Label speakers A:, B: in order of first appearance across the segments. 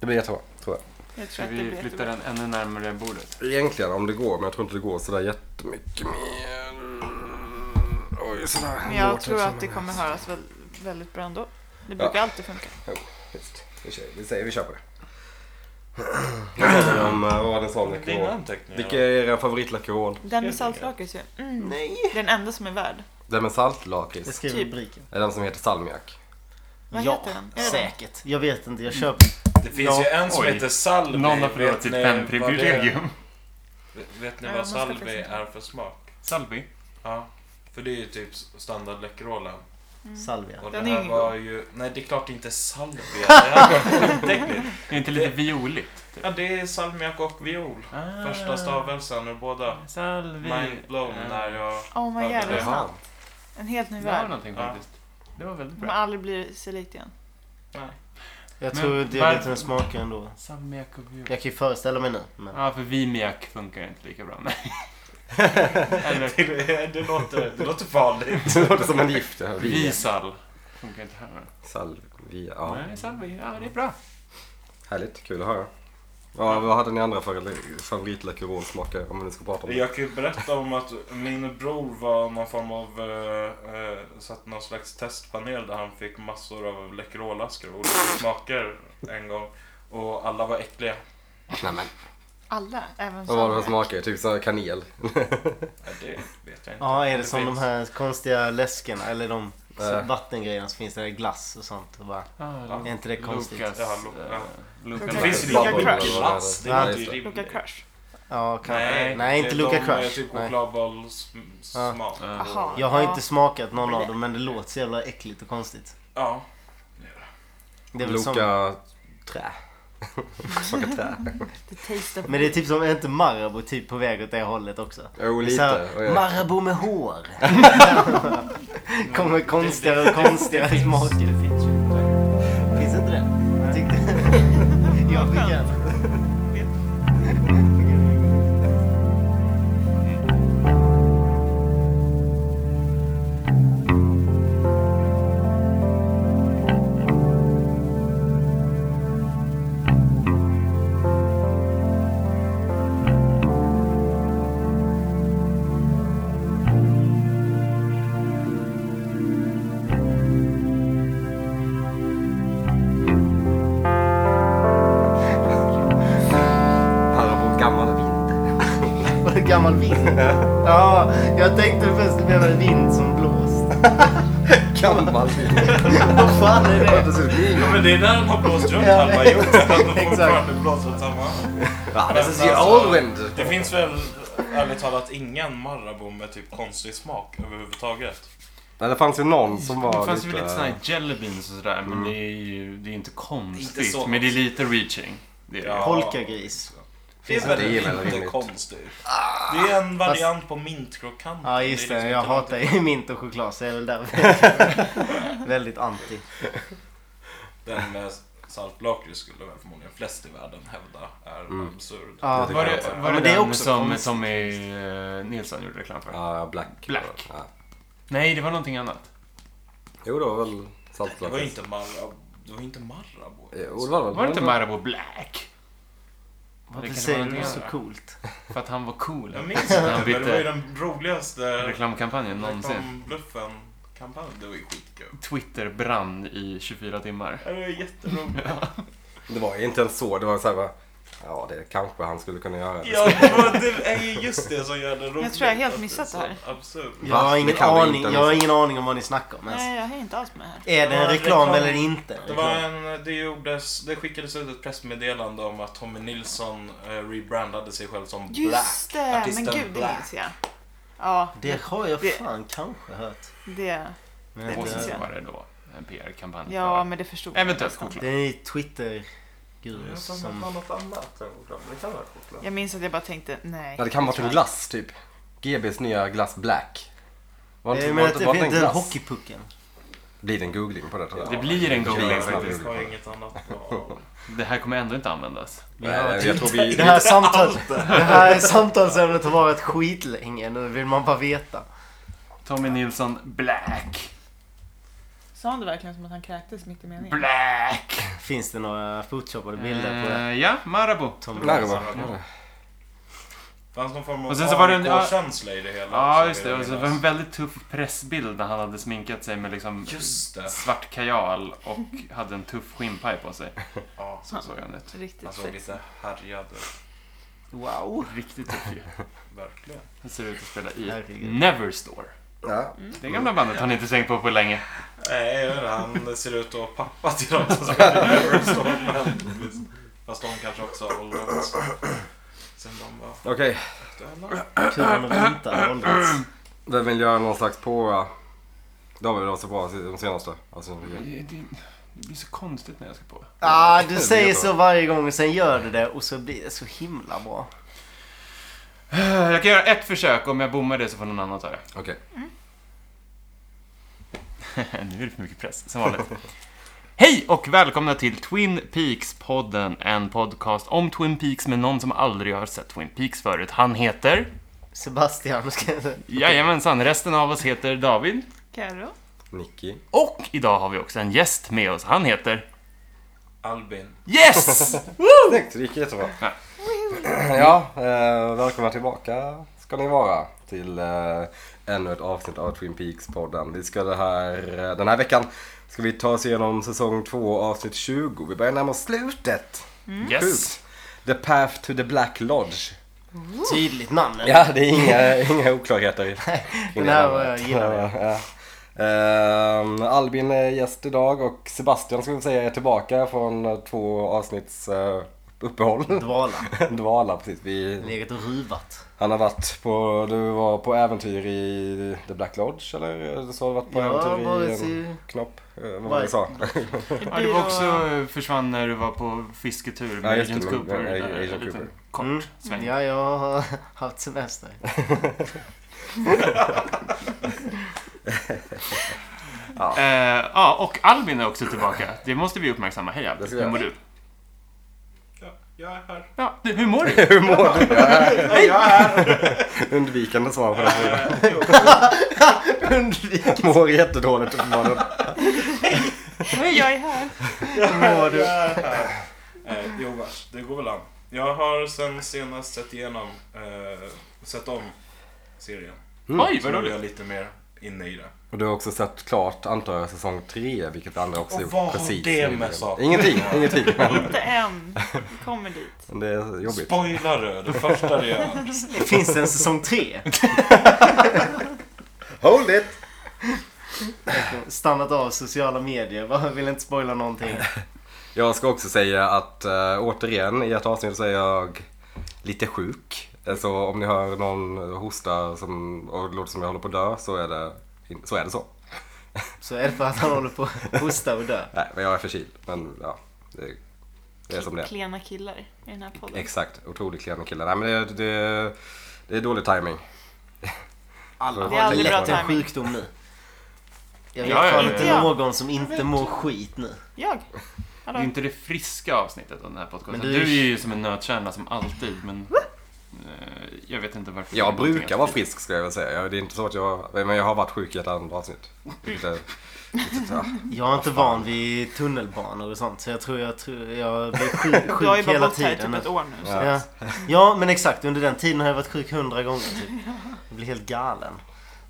A: Det blir jättebra, tror jag.
B: Jag tror
C: Ska
B: att det
C: vi
B: blir
C: flytta
B: jättebra.
C: den ännu närmare bordet?
A: Egentligen om det går, men jag tror inte det går sådär jättemycket mer. Oj, sådär.
B: Men
A: Låter
B: jag tror
A: som
B: att det
A: en-
B: kommer höras väl, väldigt bra ändå. Det brukar alltid funka.
A: Jo, visst. Vi kör, vi, säger, vi kör på det. Vad sa vi om eh, vad var det sa om
D: Dina
A: Läkerol?
D: anteckningar.
A: Vilka är era favoritlakrål?
B: Den med
D: Jag tänker-
B: saltlakris ju. Mm.
A: Nej.
B: Det är den enda som är värd.
A: Den med
E: Jag
A: saltlakrits.
E: skriver
B: Typ.
E: rubriken.
A: Är den som heter salmiak?
B: Vad
E: ja,
B: heter den? Är det
E: säkert. Jag vet inte, jag köper.
D: Det finns ju en som
C: Oj.
D: heter Salvi.
C: Någon har
D: Vet
C: förlorat sitt
D: ni vad
C: vänprivilegium.
D: det- Vet, vet ni
B: Ja, man
D: vad
B: ska
D: Salvi
B: faktiskt inte.
D: är för smak?
C: Salvi.
D: Ja. För det är ju typ standard Läkerolaren.
E: Salvia.
D: Och
B: Den
D: det
B: är
D: här
B: ingen
D: var ju... Nej, det är klart det inte är salvia. Det här var skitäckligt.
C: Är inte lite violigt? Typ.
D: Ja, det är salmiak och viol.
C: Ah.
D: Första stavelsen ur båda.
C: Salvi.
D: Mindblown när jag...
B: Oh my god,
D: Ja, det är
B: vad
A: Jaha.
B: snabbt. En helt ny
C: Det var
B: värld.
C: någonting
D: Ja.
C: faktiskt. Det var väldigt
B: Man
C: bra.
B: aldrig blir sig lik igen.
D: Nej.
E: Jag
C: Men
E: tror diabetesen
C: varför-
E: smakar ändå.
C: Salmiak och violet.
E: Jag kan ju föreställa mig nu. Men...
C: Ja, för vimiak funkar inte lika bra. Nej. Eller
D: Det, det, låter, det låter farligt.
A: Det låter som en gift. Ja. Vi.
C: visal. Funkar inte heller.
A: Salvia. Ja.
C: Nej, salvi. Ja, det är bra.
A: Härligt. Kul att höra. Ja, vad hade ni andra för favoritlakrålsmaker? Om vi nu ska prata om det.
D: Jag kan ju berätta om att min bror var någon form av... Eh, eh, satt någon slags testpanel där han fick massor av Läkerolaskor och olika smaker en gång. Och alla var äckliga.
A: Nej, men.
B: Alla, även
A: Vad var det för
B: Sandra.
A: smaker? Typ så här kanel?
D: Nej, det vet jag inte.
E: Ja, är det som de
D: finns.
E: här konstiga läskerna eller de eh,
A: Äh.
E: vattengrejerna som finns där, glass och sånt. Och bara,
C: Ah,
E: är inte det konstigt?
C: Lukas.
D: Ja, Lu-
C: eh,
D: ja.
C: Lukas.
D: Det finns ju
B: Lukas
D: lite
B: Crush.
D: glass. Det
E: Ja,
D: låter ju
A: just det.
D: rimligt.
B: Luka Crush.
E: Ja, kanske. Nej, inte
D: det är
E: Luca
D: de med
E: Crush.
D: Typ
E: Nej. Ja.
D: chokladbollssmak.
C: Ja.
B: Aha.
E: Jag har
B: Ja.
E: inte smakat någon av dem men det låter så jävla äckligt och konstigt.
D: Ja.
E: Det är väl som,
A: Loka trä. Smakar trä.
B: The taste of...
E: men det är typ som, är inte Marabou typ på väg åt det hållet också?
A: Jo,
E: Det är
A: lite.
E: så här,
A: Och jag-
E: Marabou med hår! Kommer konstigare och
D: Det
E: konstigare
D: finns, det
E: smaker.
D: finns ju inte.
E: Finns inte det? Jag tyckte... Jag fick en.
A: Parabol gammal vind.
E: Var det gammal vind? Ja, jag tänkte först att du menade vind som blåst.
A: Gammal vind.
E: Vad fan är det?
D: Ja, men det är där den har blåst runt
E: Ja,
D: halva jorden. Den har
E: exakt.
D: fortfarande blåst åt samma håll.
A: Ja, det är
D: Men
A: all
D: alltså,
A: wind.
D: Det finns väl ärligt talat ingen Marabou med typ konstig smak överhuvudtaget.
A: Nej, det fanns ju någon som
C: Det
A: var
C: fanns ju
A: lite... Mm.
C: lite såna här jelly beans och sådär, men det är ju det är inte konstigt.
D: Inte så.
C: men det är lite reaching. Det är det.
D: Ja.
E: Polkagris.
D: Det är
A: Ja,
D: väl
A: det är väl
D: inte
A: rimligt.
D: konstigt. Det är en variant på mintkrokant.
E: Ja, just
D: Det är
E: det.
D: liksom
E: Jag
D: inte
E: hatar
D: någonting-
E: ju mint och choklad så jag är väl där. Väldigt anti.
D: Den med saltlakrits skulle väl förmodligen flest i världen hävda är absurd.
E: Ja.
A: Det
C: Var
A: kan jag
C: det,
A: säga.
C: var det,
E: men det är
C: den
E: också
C: som
E: konstigt.
C: Tommy eh, Nilsson gjorde reklam för?
A: Ja, black.
C: Black.
A: Ja.
C: Nej, det var någonting annat.
A: Jo, det var väl
D: Det var ju
A: saltlakrits.
D: inte Marabou. Det var ju inte Marabou.
A: Jo, det var väl.
C: Var det inte Marabou Black? Det
E: Varför
C: kan
E: säger
C: vara
E: du
C: någonting
E: så
C: annat.
E: coolt?
C: För att han var cool.
D: Jag minns inte,
C: Han
D: men det var ju
C: bytte
D: den roligaste
C: reklamkampanjen någonsin.
D: bluffen-kampanjen. Det var ju skitkul.
C: Twitter brann i 24 timmar.
D: Det var jätteroligt.
A: Det var ju inte ens så. Det var så här bara... Ja, det kanske han skulle kunna göra.
D: ja, det, var, det är ju just det som gör det roligt.
B: Jag tror jag har helt
D: Att
B: missat
D: är
B: det här.
D: så Absurt.
E: Jag har
A: det
E: ingen
A: kan vi
E: aning,
A: inte
E: jag har ingen aning om vad ni snackar om ens.
B: Nej, jag hänger inte alls med här.
E: Är det
D: Det
E: en
D: var
E: reklam
D: reklam.
E: eller inte?
D: Det, var en, det, gjordes, det skickades ut ett pressmeddelande om att Tommy Nilsson eh, rebrandade sig själv som
B: Just
D: Black.
B: det! Men
D: Artisten
B: gud, det
D: Black.
B: minns jag. Ja,
E: Det har jag
B: Det-
E: fan kanske hört.
B: det...
E: Men eh,
B: Det
E: jag
C: Och
E: vet
B: minns
C: sen
E: inte.
C: så var det då en PR-kampanj
B: Ja,
C: för
B: men det förstod
C: eventuellt
B: nästan.
C: choklad.
E: Det är Twitter-gurus
D: Jag tror att
E: som...
D: det var något annat än choklad, men det kan vara choklad.
B: Jag minns att jag bara tänkte, nej.
A: Ja, det kan vara till glass, typ. GBs nya glass Black. Var
E: Eh,
A: inte,
E: Men
A: var
E: att
A: inte,
E: det
A: var inte
E: finns
A: en
E: den
A: glass?
E: hockeypucken.
A: Blir det en googling på det, tror jag.
C: Det blir en
A: Det blir
C: googling
A: en snabb
C: faktiskt.
D: Jag har inget annat bra.
C: Det här kommer ändå inte användas.
A: Nej, nej, Eh, jag tror vi...
E: typ Det här, samtal, det här samtalsämnet har varit skitlänge. Nu vill man bara veta.
C: Tommy Nilsson Black.
B: Sa han det verkligen som att han kräktes mitt i meningen?
C: Black!
E: Finns det några photoshoppade bilder på det?
C: Eh, ja, Marabou.
E: Tom
A: Larva.
D: samma gång. Fanns någon form av
C: Och sen så var det en-
D: AIK-känsla i det hela.
C: Ja,
D: så
C: just
D: vill
C: det.
D: jag
C: Och så var det
D: minnas.
C: en väldigt tuff pressbild när han hade sminkat sig med liksom
D: Just det.
C: svart kajal och hade en tuff skinnpaj på sig.
D: Ja,
C: Så såg han ut.
B: Riktigt
D: han såg
B: fett.
D: lite härjad ut.
E: Wow.
C: Riktigt tuff ju.
D: Verkligen.
C: Han ser ut att spela i
E: Herregud.
C: Neverstore.
A: Ja.
C: Det gamla bandet har ni inte tänkt på på länge.
D: Nej, jag vet inte, han ser ut att vara pappa till dem som spelar Everstorm. Fast de kanske också har åldrats. Sen de var
A: Okej,
D: aktuella.
E: Tur att de inte har åldrats.
A: vem vill göra någon slags eh, påa? De är väl de som var de senaste. Alltså,
C: Det, det, det blir så konstigt när jag ska på.
E: Ah,
A: Det
E: du
A: är
E: säger
A: jättebra.
E: så varje gång och sen gör du det och så blir det så himla bra.
C: Eh, Jag kan göra ett försök. Om jag bommar det så får någon annan ta det.
A: Okej.
C: nu är det för mycket press, som vanligt. Hej och välkomna till Twin Peaks-podden, en podcast om Twin Peaks med någon som aldrig har sett Twin Peaks förut. Han heter...
E: Sebastian, ska jag säga.
C: Jajamensan, resten av oss heter David.
B: Carro?
A: Nicky.
C: Och idag har vi också en gäst med oss. Han heter...
D: Albin.
C: Yes!
A: Snyggt, det gick jättebra.
C: Ja.
A: Ja, eh, välkomna tillbaka ska ni vara till eh, ännu ett avsnitt av Twin Peaks-podden. Vi ska det här, eh, den här veckan ska vi ta oss igenom säsong 2 avsnitt 20. Vi börjar närma oss slutet.
C: Yes!
A: Sjukt. The Path to the Black Lodge.
E: Tydligt namn. eller?
A: Ja, det är inga, inga oklarheter. i- i
E: den här
A: namnet.
E: var jag-
D: eh,
E: gillar jag.
A: Ja, ja. Ehm, Albin är gäst idag och Sebastian ska vi säga är tillbaka från eh, två avsnitts eh, uppehåll.
E: Dvala.
A: Dvala, precis. Vi,
E: Legat och ruvat.
A: han har varit på, du var på äventyr i The Black Lodge eller? Du sa du varit på
E: Ja,
A: äventyr i
E: varit
A: en
E: i-
A: knopp? eh, Vad var det du sa?
C: Ja, du var också eh, försvann när du var på fisketur
A: Ja,
C: med
A: just det,
C: Agent
A: men-
C: Cooper.
A: men-
C: där,
A: Agent
C: en liten
A: Cooper.
C: Kort
E: Mm.
C: sväng.
E: Ja, jag har haft semester.
C: Eh, ja, och Albin är också tillbaka. Det måste vi uppmärksamma. Hej
A: Det ska vi
C: Albin, hur
A: göra.
C: mår du?
D: Ja, jag är här.
C: Ja, du, hur mår du?
A: Hur mår du?
D: Ja, jag är här.
A: Undvikande svar på den frågan.
D: Eh, jo.
E: Undvik.
A: Mår jättedåligt uppenbarligen.
B: Nej, jag är här.
E: mår du?
D: Jag är här. Eh, jo, vars. Det går väl an. Jag har sen senast sett igenom, eh, sett om serien.
C: Oj,
D: Så
C: vad
D: nu är
C: roligt.
D: jag lite mer inne i det.
A: Och du har också sett klart, antar jag, säsong 3, vilket andra också
D: Och
A: gjort
D: vad har
A: precis.
D: det
A: nyligen.
D: med saken?
A: Ingenting, ingenting.
B: Inte än. Vi kommer dit.
A: Men det är jobbigt.
D: Spoilar du? Det första det gör.
E: Finns det en säsong tre?
A: Hold it!
E: Stannat av sociala medier. Bara vill inte spoila någonting.
A: Jag ska också säga att äh, återigen i ett avsnitt så är jag lite sjuk. Så om ni hör någon hosta som, och det låter som jag håller på att dö så är det så. Är det så.
E: Så är det för att han håller på att hosta och dö.
A: Nej, men jag är förkyld. Men ja, det, det är som det är.
B: Klena killar i den här podden.
A: Exakt, otroligt klen kille. Nej men det, det, det är dålig timing.
E: Alla
A: Det
B: är
E: har
B: aldrig bra
E: lite en
B: timing.
E: sjukdom nu. Jag vet
C: Ja, ja,
E: fan
C: ja,
E: inte
B: ja.
E: någon som inte mår skit nu.
B: Jag?
C: Det är
B: Hallå?
C: inte det friska avsnittet av den här podcasten.
E: Men
C: Du
E: du
C: är,
E: är-
C: ju som en nötkärna som alltid, men... eh, jag vet inte varför.
A: Jag brukar vara frisk skulle jag vilja säga. Jag- Det är inte så att jag, men jag har varit sjuk i ett annat avsnitt. Vilket är, vilket, ja.
E: Jag är inte van vid tunnelbanor och sånt så jag tror jag, tror jag blir sjuk,
B: Du har ju
E: sjuk
B: bara
E: hela
B: bott här i
E: tiden. alltså.
B: typ ett år nu. Så.
E: Ja. ja men exakt, under den tiden har jag varit sjuk hundra gånger typ. Jag blir helt galen.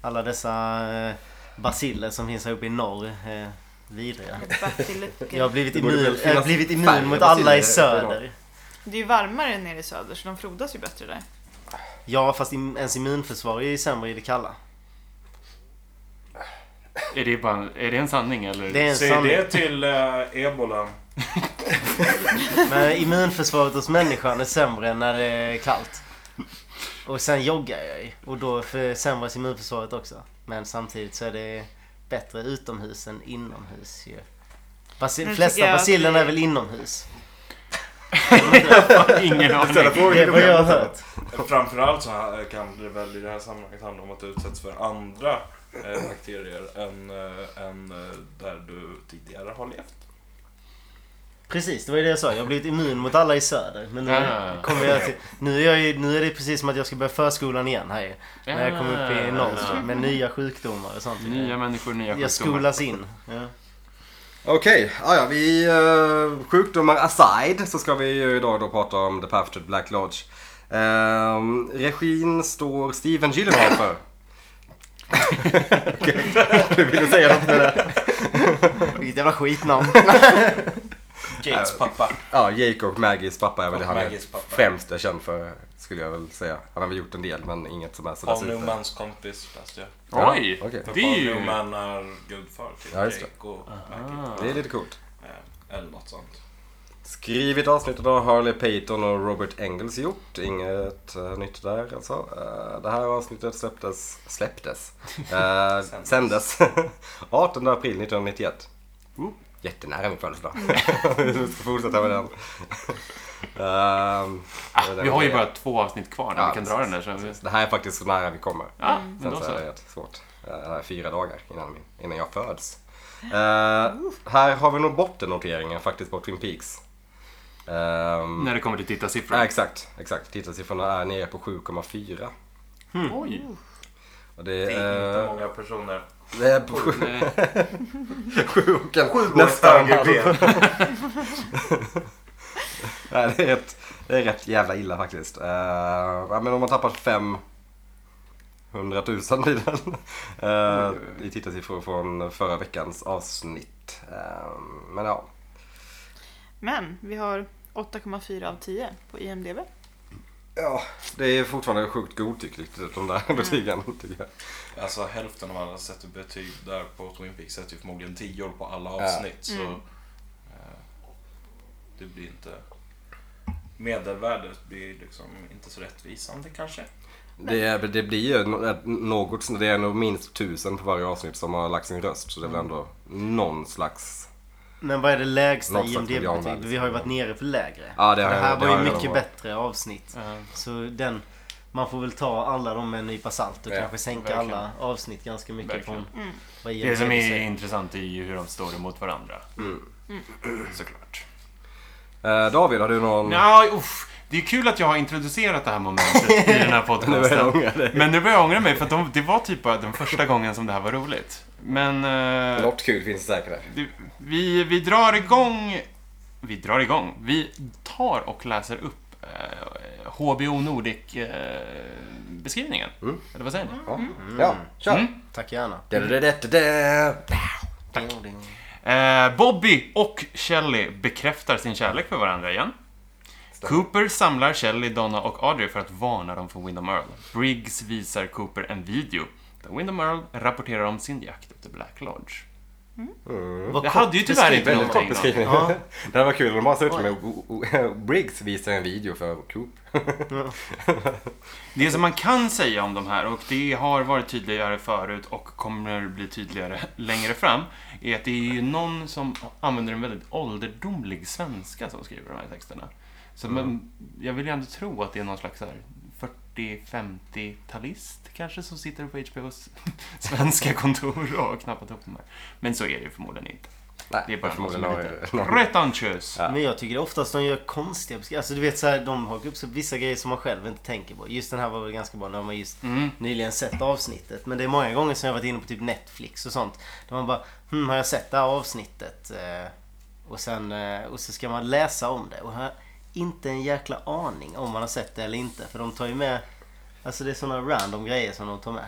E: Alla dessa eh, basiller som finns här uppe i norr. Eh, vidriga.
B: Bacille.
E: Jag har blivit
A: Det borde väl
E: immun, jag har
A: finnas
E: blivit
A: färre
E: immun mot alla i
A: basiller uppe i norr.
E: söder.
B: Det är ju varmare nere i söder så de frodas ju bättre där.
E: Ja fast im- ens immunförsvar är ju sämre i det kalla.
C: Är det, bara, är det en sanning eller?
E: Det är en
D: Säg
E: sanning.
D: det till eh, ebolan.
E: Men immunförsvaret hos människan är sämre när det är kallt. Och sen joggar jag ju och då försämras immunförsvaret också. Men samtidigt så är det bättre utomhus än inomhus ju. Basi-
B: Nu tycker
E: flesta
B: jag att
E: bacillerna
B: vi-
E: är väl inomhus?
C: Ingen aning.
E: Det är vad jag har hört.
D: Framförallt så här eh, kan det väl i det här sammanhanget handla om att du utsätts för andra eh, bakterier än, eh, än eh, där du tidigare har levt.
E: Precis, det var ju det jag sa. Jag har blivit immun mot alla i söder. Men nu
C: Ah.
E: kommer jag till... Nu är, jag, ju- nu är det precis som att jag ska börja förskolan igen här ju. När jag kommer upp i Norrström med nya sjukdomar och sånt.
C: Nya människor, nya
E: jag
C: sjukdomar.
E: skolas in. Ja.
A: Okej, ah, ja, vi eh, sjukdomar aside så ska vi ju idag då prata om The Path to the Black Lodge. Ehm, regin står Steven Gyllenhaal för. Okej, du ville säga något med det?
E: Vilket jävla skitnamn.
D: Jates pappa.
A: Ja, Jake och Maggies pappa är väl
D: Och
A: det han är
D: Maggies pappa.
A: främst är känd för, skulle jag väl säga. Han har väl gjort en del, men inget som är sådär
D: Paul Normans kompis läste jag.
A: Ja,
C: Oj!
A: okej.
D: För
C: Det är
D: Paul
C: ju...
D: Newman är gudfar till
A: Ja, just det.
D: Jake och Maggie.
C: Ah.
A: Det är lite coolt.
D: Eh, Eller något sånt.
A: Skrivit avsnittet har Harley Payton och Robert Engels gjort. Inget eh, nytt där alltså. Eh, det här avsnittet släpptes... Släpptes? Eh,
D: Sändes.
A: sändes 18 april 1991.
C: Oh.
A: Jättenära min födelsedag. Vi ska fortsätta med den. Ehm,
C: Ah,
A: det var den
C: vi har ju
A: grejen.
C: bara två avsnitt kvar när
A: Ja,
C: vi kan dra den där. Så vi...
A: Det här är faktiskt så nära vi kommer.
C: Ja, men
A: Sen
C: då
A: så
C: så.
A: är det rätt svårt. Eh, Det här är fyra dagar innan, min- innan jag föds. Eh, här har vi nog bottennoteringen faktiskt på Twin Peaks. Ehm,
C: Mm. När det kommer till
A: Ja,
C: tittarsiffror.
A: exakt, exakt. Tittarsiffrorna är nere på 7,4.
C: Mm. Oj!
A: Och det,
D: Det är
A: är,
D: inte
A: eh,
D: många personer.
A: det är på 7,
C: Nej.
A: nästan
D: högre
A: halv.
D: ben.
A: Nej, det, är rätt, det är rätt jävla illa faktiskt. Eh, ja, men om man tappat 500 000 i den. eh, I tittarsiffror från förra veckans avsnitt. Eh, men ja,
B: Men vi har 8,4 av 10 på IMDB.
A: ja, det är fortfarande sjukt godtyckligt de där betygen tycker jag.
D: Alltså hälften av alla sätter betyg där på Twin Peaks sätter ju förmodligen 10 på alla avsnitt. Så eh, det blir inte... Medelvärdet blir liksom inte så rättvisande kanske.
A: Det, är- det blir ju no- ett- något, det är nog minst tusen på varje avsnitt som har lagt sin röst. Så det är
E: Mm.
A: väl ändå någon slags...
E: Men vad är det lägsta
A: Något slags
E: IMDB-betyg?
A: medianvärde.
E: Vi har ju varit nere för lägre.
A: Ja, det
E: det
A: har jag-
E: här
A: det
E: var
A: har jag
E: ju mycket
A: redan varit.
E: bättre avsnitt.
C: Eh,
E: Så den... Man får väl ta alla dem med en nypa salt och
D: Ja,
E: kanske sänka
C: verkligen.
E: alla avsnitt ganska mycket
C: Verkligen.
E: från vad
C: Det som
E: IMDb
C: är
E: säger.
C: intressant är ju hur de står emot varandra.
A: Mm.
C: Såklart.
A: Eh, David, har du någon...
C: Nej, uff. Det är kul att jag har introducerat det här momentet i den här
A: Nu börjar jag
C: podcasten.
A: ångra dig.
C: Men nu börjar jag ångra mig för att de, det var typ bara den första gången som det här var roligt. Men... eh,
A: Något kul finns det säkert.
C: Du, vi, vi drar igång... Vi drar igång. Vi tar och läser upp eh, HBO Nordic-beskrivningen.
A: Mm.
C: eh, Eller vad säger ni?
A: Ja, ja kör!
C: Mm.
E: Tack gärna.
A: Da-da-da-da-da.
E: Ding, ding.
C: Eh, Bobby och Shelley bekräftar sin kärlek för varandra igen. Cooper samlar Shelley, Donna och Audrey för att varna dem för Windom Earl. Briggs visar Cooper en video där Windom Earl rapporterar om sin jakt efter Black Lodge.
A: Mm.
E: Vad
C: Det hade ju
E: kort
C: tyvärr inte
A: Väldigt
E: beskrivet.
A: kort
C: någonting. då.
A: beskrivning.
E: Ja.
A: Det här var kul. De bara suttit med o- o- Briggs visar en video för Coop.
C: Det som man kan säga om de här, och det har varit tydligare förut och kommer bli tydligare längre fram, är att det är ju någon som använder en väldigt ålderdomlig svenska som skriver de här texterna. Så men, jag vill ju ändå tro att det är någon slags så här 40-50-talist kanske som sitter på HBOs svenska kontor och har knappat ihop de här. Men så är det ju förmodligen inte.
A: Nej,
C: Det är bara någon som
A: förmodligen
C: är
A: har-
C: lite pretentiös.
E: Men jag tycker oftast de gör konstiga beskrivningar. Alltså du vet såhär, de hakar upp sig på vissa grejer som man själv inte tänker på. Just den här var väl ganska bra när man just
C: Mm.
E: nyligen sett avsnittet. Men det är många gånger som jag varit inne på typ Netflix och sånt. Där man bara, hm har jag sett det här avsnittet? Eh, Och sen eh, och så ska man läsa om det. Och jag har inte en jäkla aning om man har sett det eller inte. För de tar ju med, alltså det är sådana random grejer som de tar med.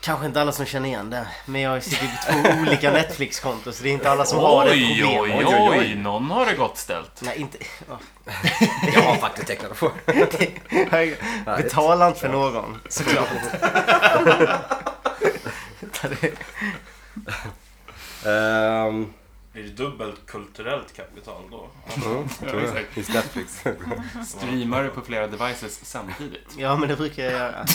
E: Kanske inte alla som känner igen det. Men jag sitter ju på två olika Netflix-konton så det är inte alla som har det
C: Oj,
E: problemet.
C: oj, oj, någon har det gott ställt.
E: Nej, inte... ja.
A: Jag har faktiskt tecknat på.
E: Betala inte för någon, såklart.
A: Ehm,
D: Är det dubbelt kulturellt kapital då?
A: mm, tror jag.
C: exakt.
A: Finns Netflix.
C: Streamar du på flera devices samtidigt?
E: Ja, men det brukar jag göra.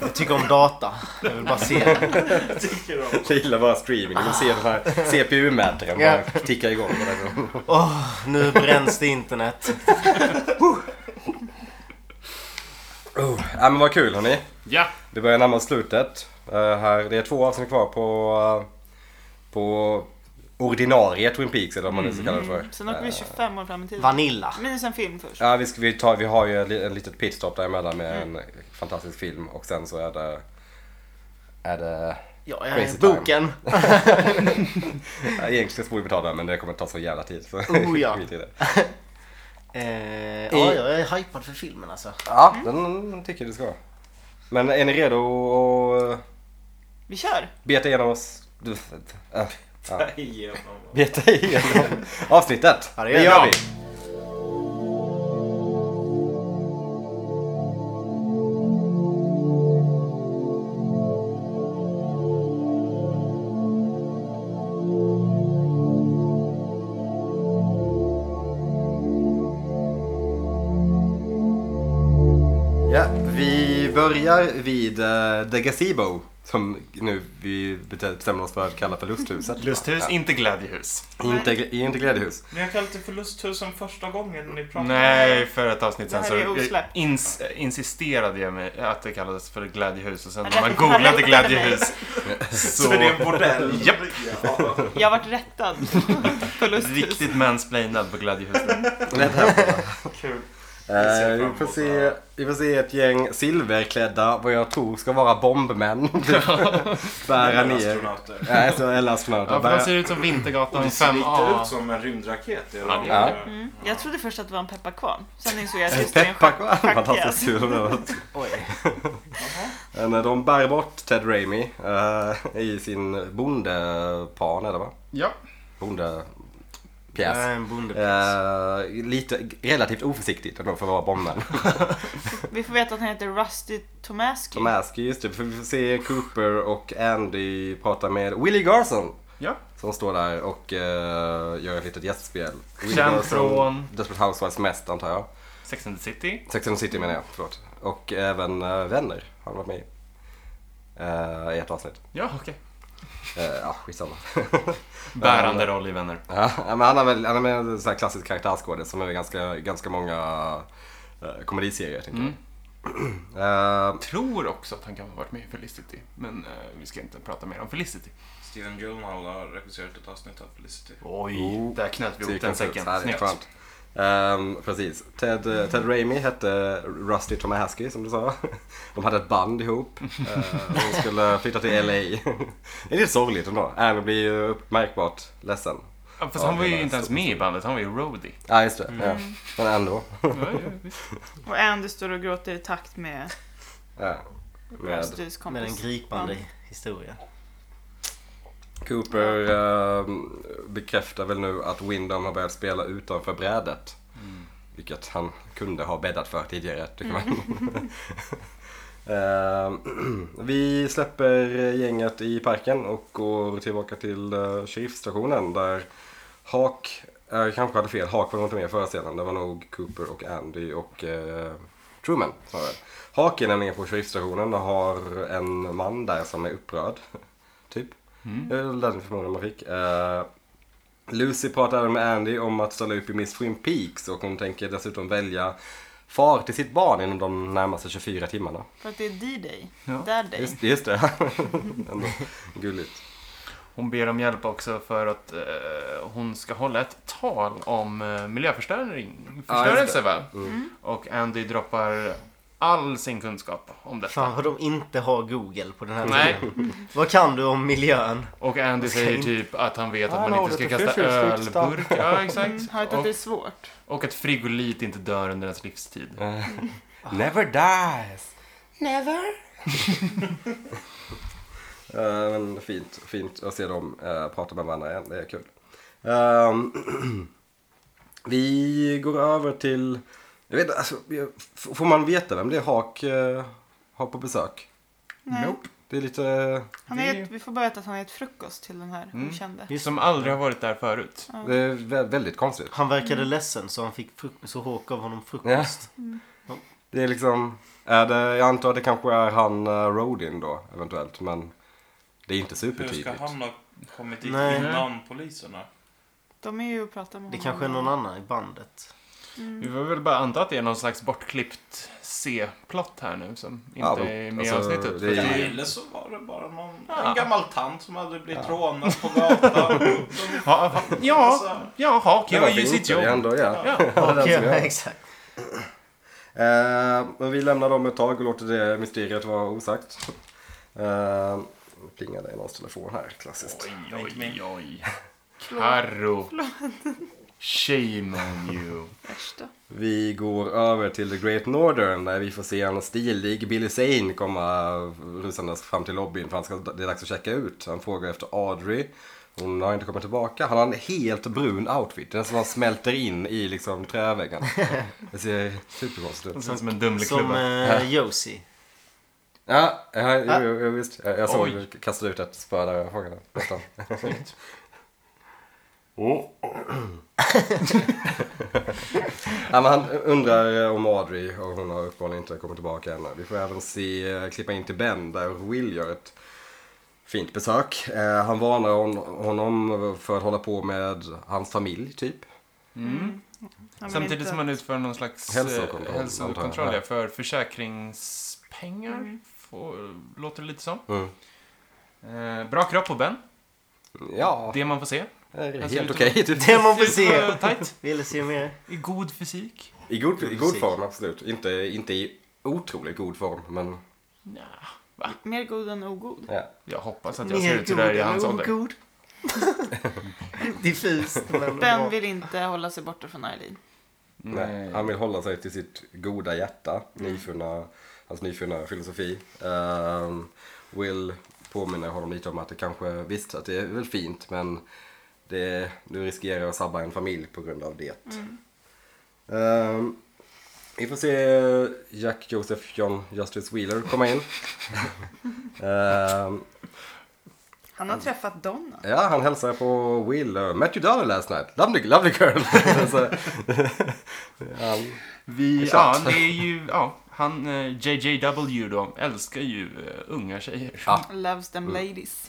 E: Jag tycker om data. Jag vill bara se det.
D: Tycker de.
A: Jag gillar bara streaming. De ser den här CPU-mätaren
E: Ja.
A: bara ticka igång.
E: Åh, nu bränns det internet.
A: Oh, ja, men vad kul hörni.
C: Ja!
A: Det börjar närma oss slutet. Eh, här, det är två avsnitt kvar på, eh, på ordinarie Twin Peaks eller vad man nu ska kalla det för.
B: Mm. Sen åker vi 25 år fram i tiden.
E: Vanilla.
B: Minus en film först.
A: Ja, vi, ska, vi, tar, vi har ju en li- en litet pitstop däremellan med en fantastisk film och sen så är det... Är det...
E: Ja, jag
A: Crazy
E: är
A: time.
E: boken.
A: Ja, egentligen borde vi ta den men det kommer ta så jävla tid. Så
E: Oh, ja.
A: skit i det.
E: Eh, ja, jag är hypad för filmen alltså.
A: Ja, den tycker jag du ska. Men är ni redo att
B: Vi kör!
A: beta igenom oss? Du, äh, ja.
D: Igenom.
A: Beta igenom avsnittet.
E: Ja, det
A: det
E: gör
A: gör
E: vi.
A: vi. Ja, vi börjar vid eh, The Gazebo. Som nu vi bestämmer oss för att kalla för lusthuset.
C: Lusthus,
A: Ja.
C: inte glädjehus.
A: Inte, inte glädjehus.
D: Men jag kallade det för lusthusen första gången ni pratade.
C: Nej, för ett avsnitt sen
B: Det
C: så eh,
B: här är osläppt.
C: ins, insisterade jag med att det kallades för glädjehus och sen när
B: Ja,
C: man
B: det-
C: googlade glädjehus
D: Så,
C: så
D: det är en bordell?
C: Japp.
D: Ja.
B: Jag vart rättad. Förlust.
C: riktigt mansplainad på glädjehus.
D: Kul.
A: Eh, vi, får se, vi får se ett gäng silverklädda, vad jag tror ska vara bombmän. bära
D: Eller
A: ner.
D: astronauter.
A: Nej, så- eller astronauter.
C: Ja, för de
A: bära,
C: ser ut som
D: Och
C: Vintergatan
D: det ser lite
C: 5A.
D: ut som en rymdraket. i alla
C: Ja, det
A: gör
D: fall.
A: det.
B: Mm. Jag trodde först att det var en pepparkvarn. Sen insåg jag att just det är en
A: Pepparkvarn,
B: schack-
A: fantastiskt
B: schackpjäs.
A: kul om det var.
E: Oj.
A: Men, eh, De bär bort Ted Raimi eh, i sin bondepan, eller vad?
C: Ja.
A: Bondepjäs.
E: Jag är en bonde.
A: Eh, lite, relativt oförsiktigt ändå för att vara bombmän.
B: Vi får veta att han heter Rusty Tomaski.
A: De äskar just det, för vi får se Cooper och Andy prata med Willie Garson.
C: ja.
A: Som står där och eh, gör ett litet gästspel.
C: Känd från
A: Desperate Housewives mest antar jag.
C: Sex and the City.
A: Sex and the City menar jag, förlåt. Och även eh, Vänner har han varit med i. Eh, I ett avsnitt.
C: Ja, okej.
A: Eh, Ja, skitsamma.
C: Bärande roll i Vänner.
A: Ja, men han har väl han har väl en sån här klassisk karaktärsskådis som är ganska, ganska många eh, komediserier tänker jag.
C: Mm.
A: Eh,
C: Tror också att han kan ha varit med i Felicity. Men eh, vi ska inte prata mer om Felicity.
D: Steven Gyllenhaal har regisserat ett avsnitt av Felicity.
C: Oj,
A: Oh.
C: där knöt vi
A: så gick
C: ihop den
A: han ut. Ja,
C: säcken.
A: det är
C: Snyggt.
A: skönt. Ehm, precis. Ted, eh, Ted Raimi hette Rusty Tomahaski som du sa. De hade ett band ihop. Eh, och de skulle flytta till LA. Det är lite sorgligt ändå. Annie blir ju märkbart ledsen.
C: Ja, fast
A: Ja,
C: han var ju
A: hela
C: inte ens
A: stor-
C: med i bandet, han var ju roadie.
A: Ja, just det.
C: Mm.
A: Ja. Men ändå.
C: Ja, ja, visst.
B: Och Andy står och gråter i takt med
A: Ja. Med
B: Rustys
E: Med en
B: kompis.
E: gripande historia.
A: Cooper ehm, bekräftar väl nu att Windham har börjat spela utanför brädet. Vilket han kunde ha bäddat för tidigare, tycker man. Ehm, vi släpper gänget i parken och går tillbaka till uh, sheriffstationen där Hawk, jag kanske hade fel, Hawk var nog inte med i förra scenen. Det var nog Cooper och Andy och eh, Truman snarare. Hawk är nämligen på sheriffstationen och har en man där som är upprörd. Typ. Det är väl den förmågan man fick. Eh, Lucy pratar även med Andy om att ställa upp i Miss Twin Peaks och hon tänker dessutom välja far till sitt barn inom de närmaste 24 timmarna.
B: För att det är D-Day.
C: Ja.
B: Där day.
A: Just, just det. Ändå gulligt.
C: Hon ber om hjälp också för att eh, hon ska hålla ett tal om eh, miljöförstöring.
A: Ja, just
C: Förstörelse,
A: det. Mm.
C: va? Och Andy droppar all sin kunskap om detta.
E: Fan vad de inte har Google på den här
C: Nej,
E: tiden. Vad kan du om miljön?
C: och Andy
E: Ska
C: säger
E: in-
C: typ att han vet
A: Ah,
C: att
A: no,
C: man inte ska
A: det är
C: kasta
A: fyrfyrigt stuff.
C: ölburkar. Ja, exakt.
B: Mm, har hört att
C: Och,
B: det är svårt.
C: och att frigolit inte dör under ens livstid.
A: Eh, Never dies. Never. Eh, men fint, fint att se dem eh, prata med varandra igen. Det är kul. Ehm, vi går över till... Jag vet, inte, alltså, jag- f- får man veta vem det är Hak eh, har på besök?
B: Nej.
A: Det är lite...
B: Han
C: Det-
B: är ett, vi får börja att han är ett frukost till den här
C: Mm.
B: okände.
C: Som aldrig har varit där förut.
B: Ja.
A: Det är vä- väldigt konstigt.
E: Han verkade ledsen så han fick fruk- så Hawk gav honom frukost.
A: Ja. Det är liksom... Är det, jag antar att det kanske är han uh, Rodin då, eventuellt. Men det är inte
D: Hur
A: supertydligt.
D: ska han ha kommit dit
E: Nej.
D: innan poliserna?
B: De är ju och pratar med
E: Det
B: honom.
E: kanske är någon annan i bandet.
C: Vi får väl bara anta att det är någon slags bortklippt C-plott här nu som inte
A: Ja, men,
C: är med i
A: alltså,
C: avsnittet.
A: det är-
C: För
D: Eller så var det bara någon
C: Ja.
D: en gammal tant som hade blivit rånad på gatan. Och de-
C: Ja, ja,
D: Alltså,
C: ja, Haki
A: Det
C: har
A: var
C: ju sitt
A: Det är
C: jobb.
A: ändå, ja.
C: Ja.
A: den som
E: ja,
A: gör.
E: exakt.
A: Eh, men vi lämnar dem ett tag och låter det mysteriet vara osagt. Eh, nu plingade i någons telefon här, klassiskt.
C: Oj, oj, oj. Carro. Shame on you.
B: Värsta.
A: Vi går över till The Great Northern där vi får se en stilig Billy Zane komma rusandes fram till lobbyn för han ska, det är dags att checka ut. Han frågar efter Audrey. Hon har inte kommit tillbaka. Han har en helt brun outfit. Den som han smälter in i liksom träväggen. Det ser superkonstigt
C: Det
A: ut.
C: känns som en Dumleklubba.
E: Som eh, Josie.
A: Ja, ja, jo, jo, jo, visst. Jag, jag såg
C: Oj.
A: du kastade ut ett spö där jag frågade. Nästan.
C: Snyggt.
A: Ja, men han undrar eh, om Audrey och hon har uppenbarligen inte kommit tillbaka ännu. Vi får även se, eh, klippa in till Ben där Will gör ett fint besök. Eh, Han varnar hon- honom för att hålla på med hans familj typ.
C: Mm.
B: Han vill
C: Samtidigt
B: inte-
C: som man utför någon slags
A: Hälsokontroll,
C: eh,
A: antar
C: hälsokontroll
A: jag.
C: ja, för försäkringspengar.
B: Mm.
C: Får, låter det lite som.
A: Mm.
C: Eh, bra kropp på Ben.
A: Ja,
C: Det man får se.
A: det är
C: Jag
A: helt
C: ser
A: okej typ.
E: Det man får se.
C: Super tight.
E: Ville se mer.
C: I god fysik.
A: I god, I god form absolut. Inte, inte i otroligt god form men
C: Nja,
B: Mer god än ogod.
A: ja.
C: jag hoppas att jag ser
E: Mer oh,
C: ut
E: god
C: sådär i hans
E: än
C: ålder.
E: ogod. Diffust. men bra.
B: Ben vill inte hålla sig borta från Eileen.
A: Nej. Han vill hålla sig till sitt goda hjärta, nyfunna, hans nyfunna filosofi. Ehm, Will påminner honom lite om att det kanske, visst att det är väl fint men det, du riskerar att sabba en familj på grund av det. Ehm, vi får se Jack Joseph John Justice Wheeler komma in. Ehm,
B: Han
C: Mm.
B: har träffat Donna.
A: Ja, han hälsar på Will. uh, Met your daughter last night. Lovely, lovely girl. Så- han,
C: Vi,
A: Exakt.
C: ja, det är ju, ja, han, eh, JJW då, älskar ju eh, unga tjejer.
B: Loves
C: Mm.
B: them ladies.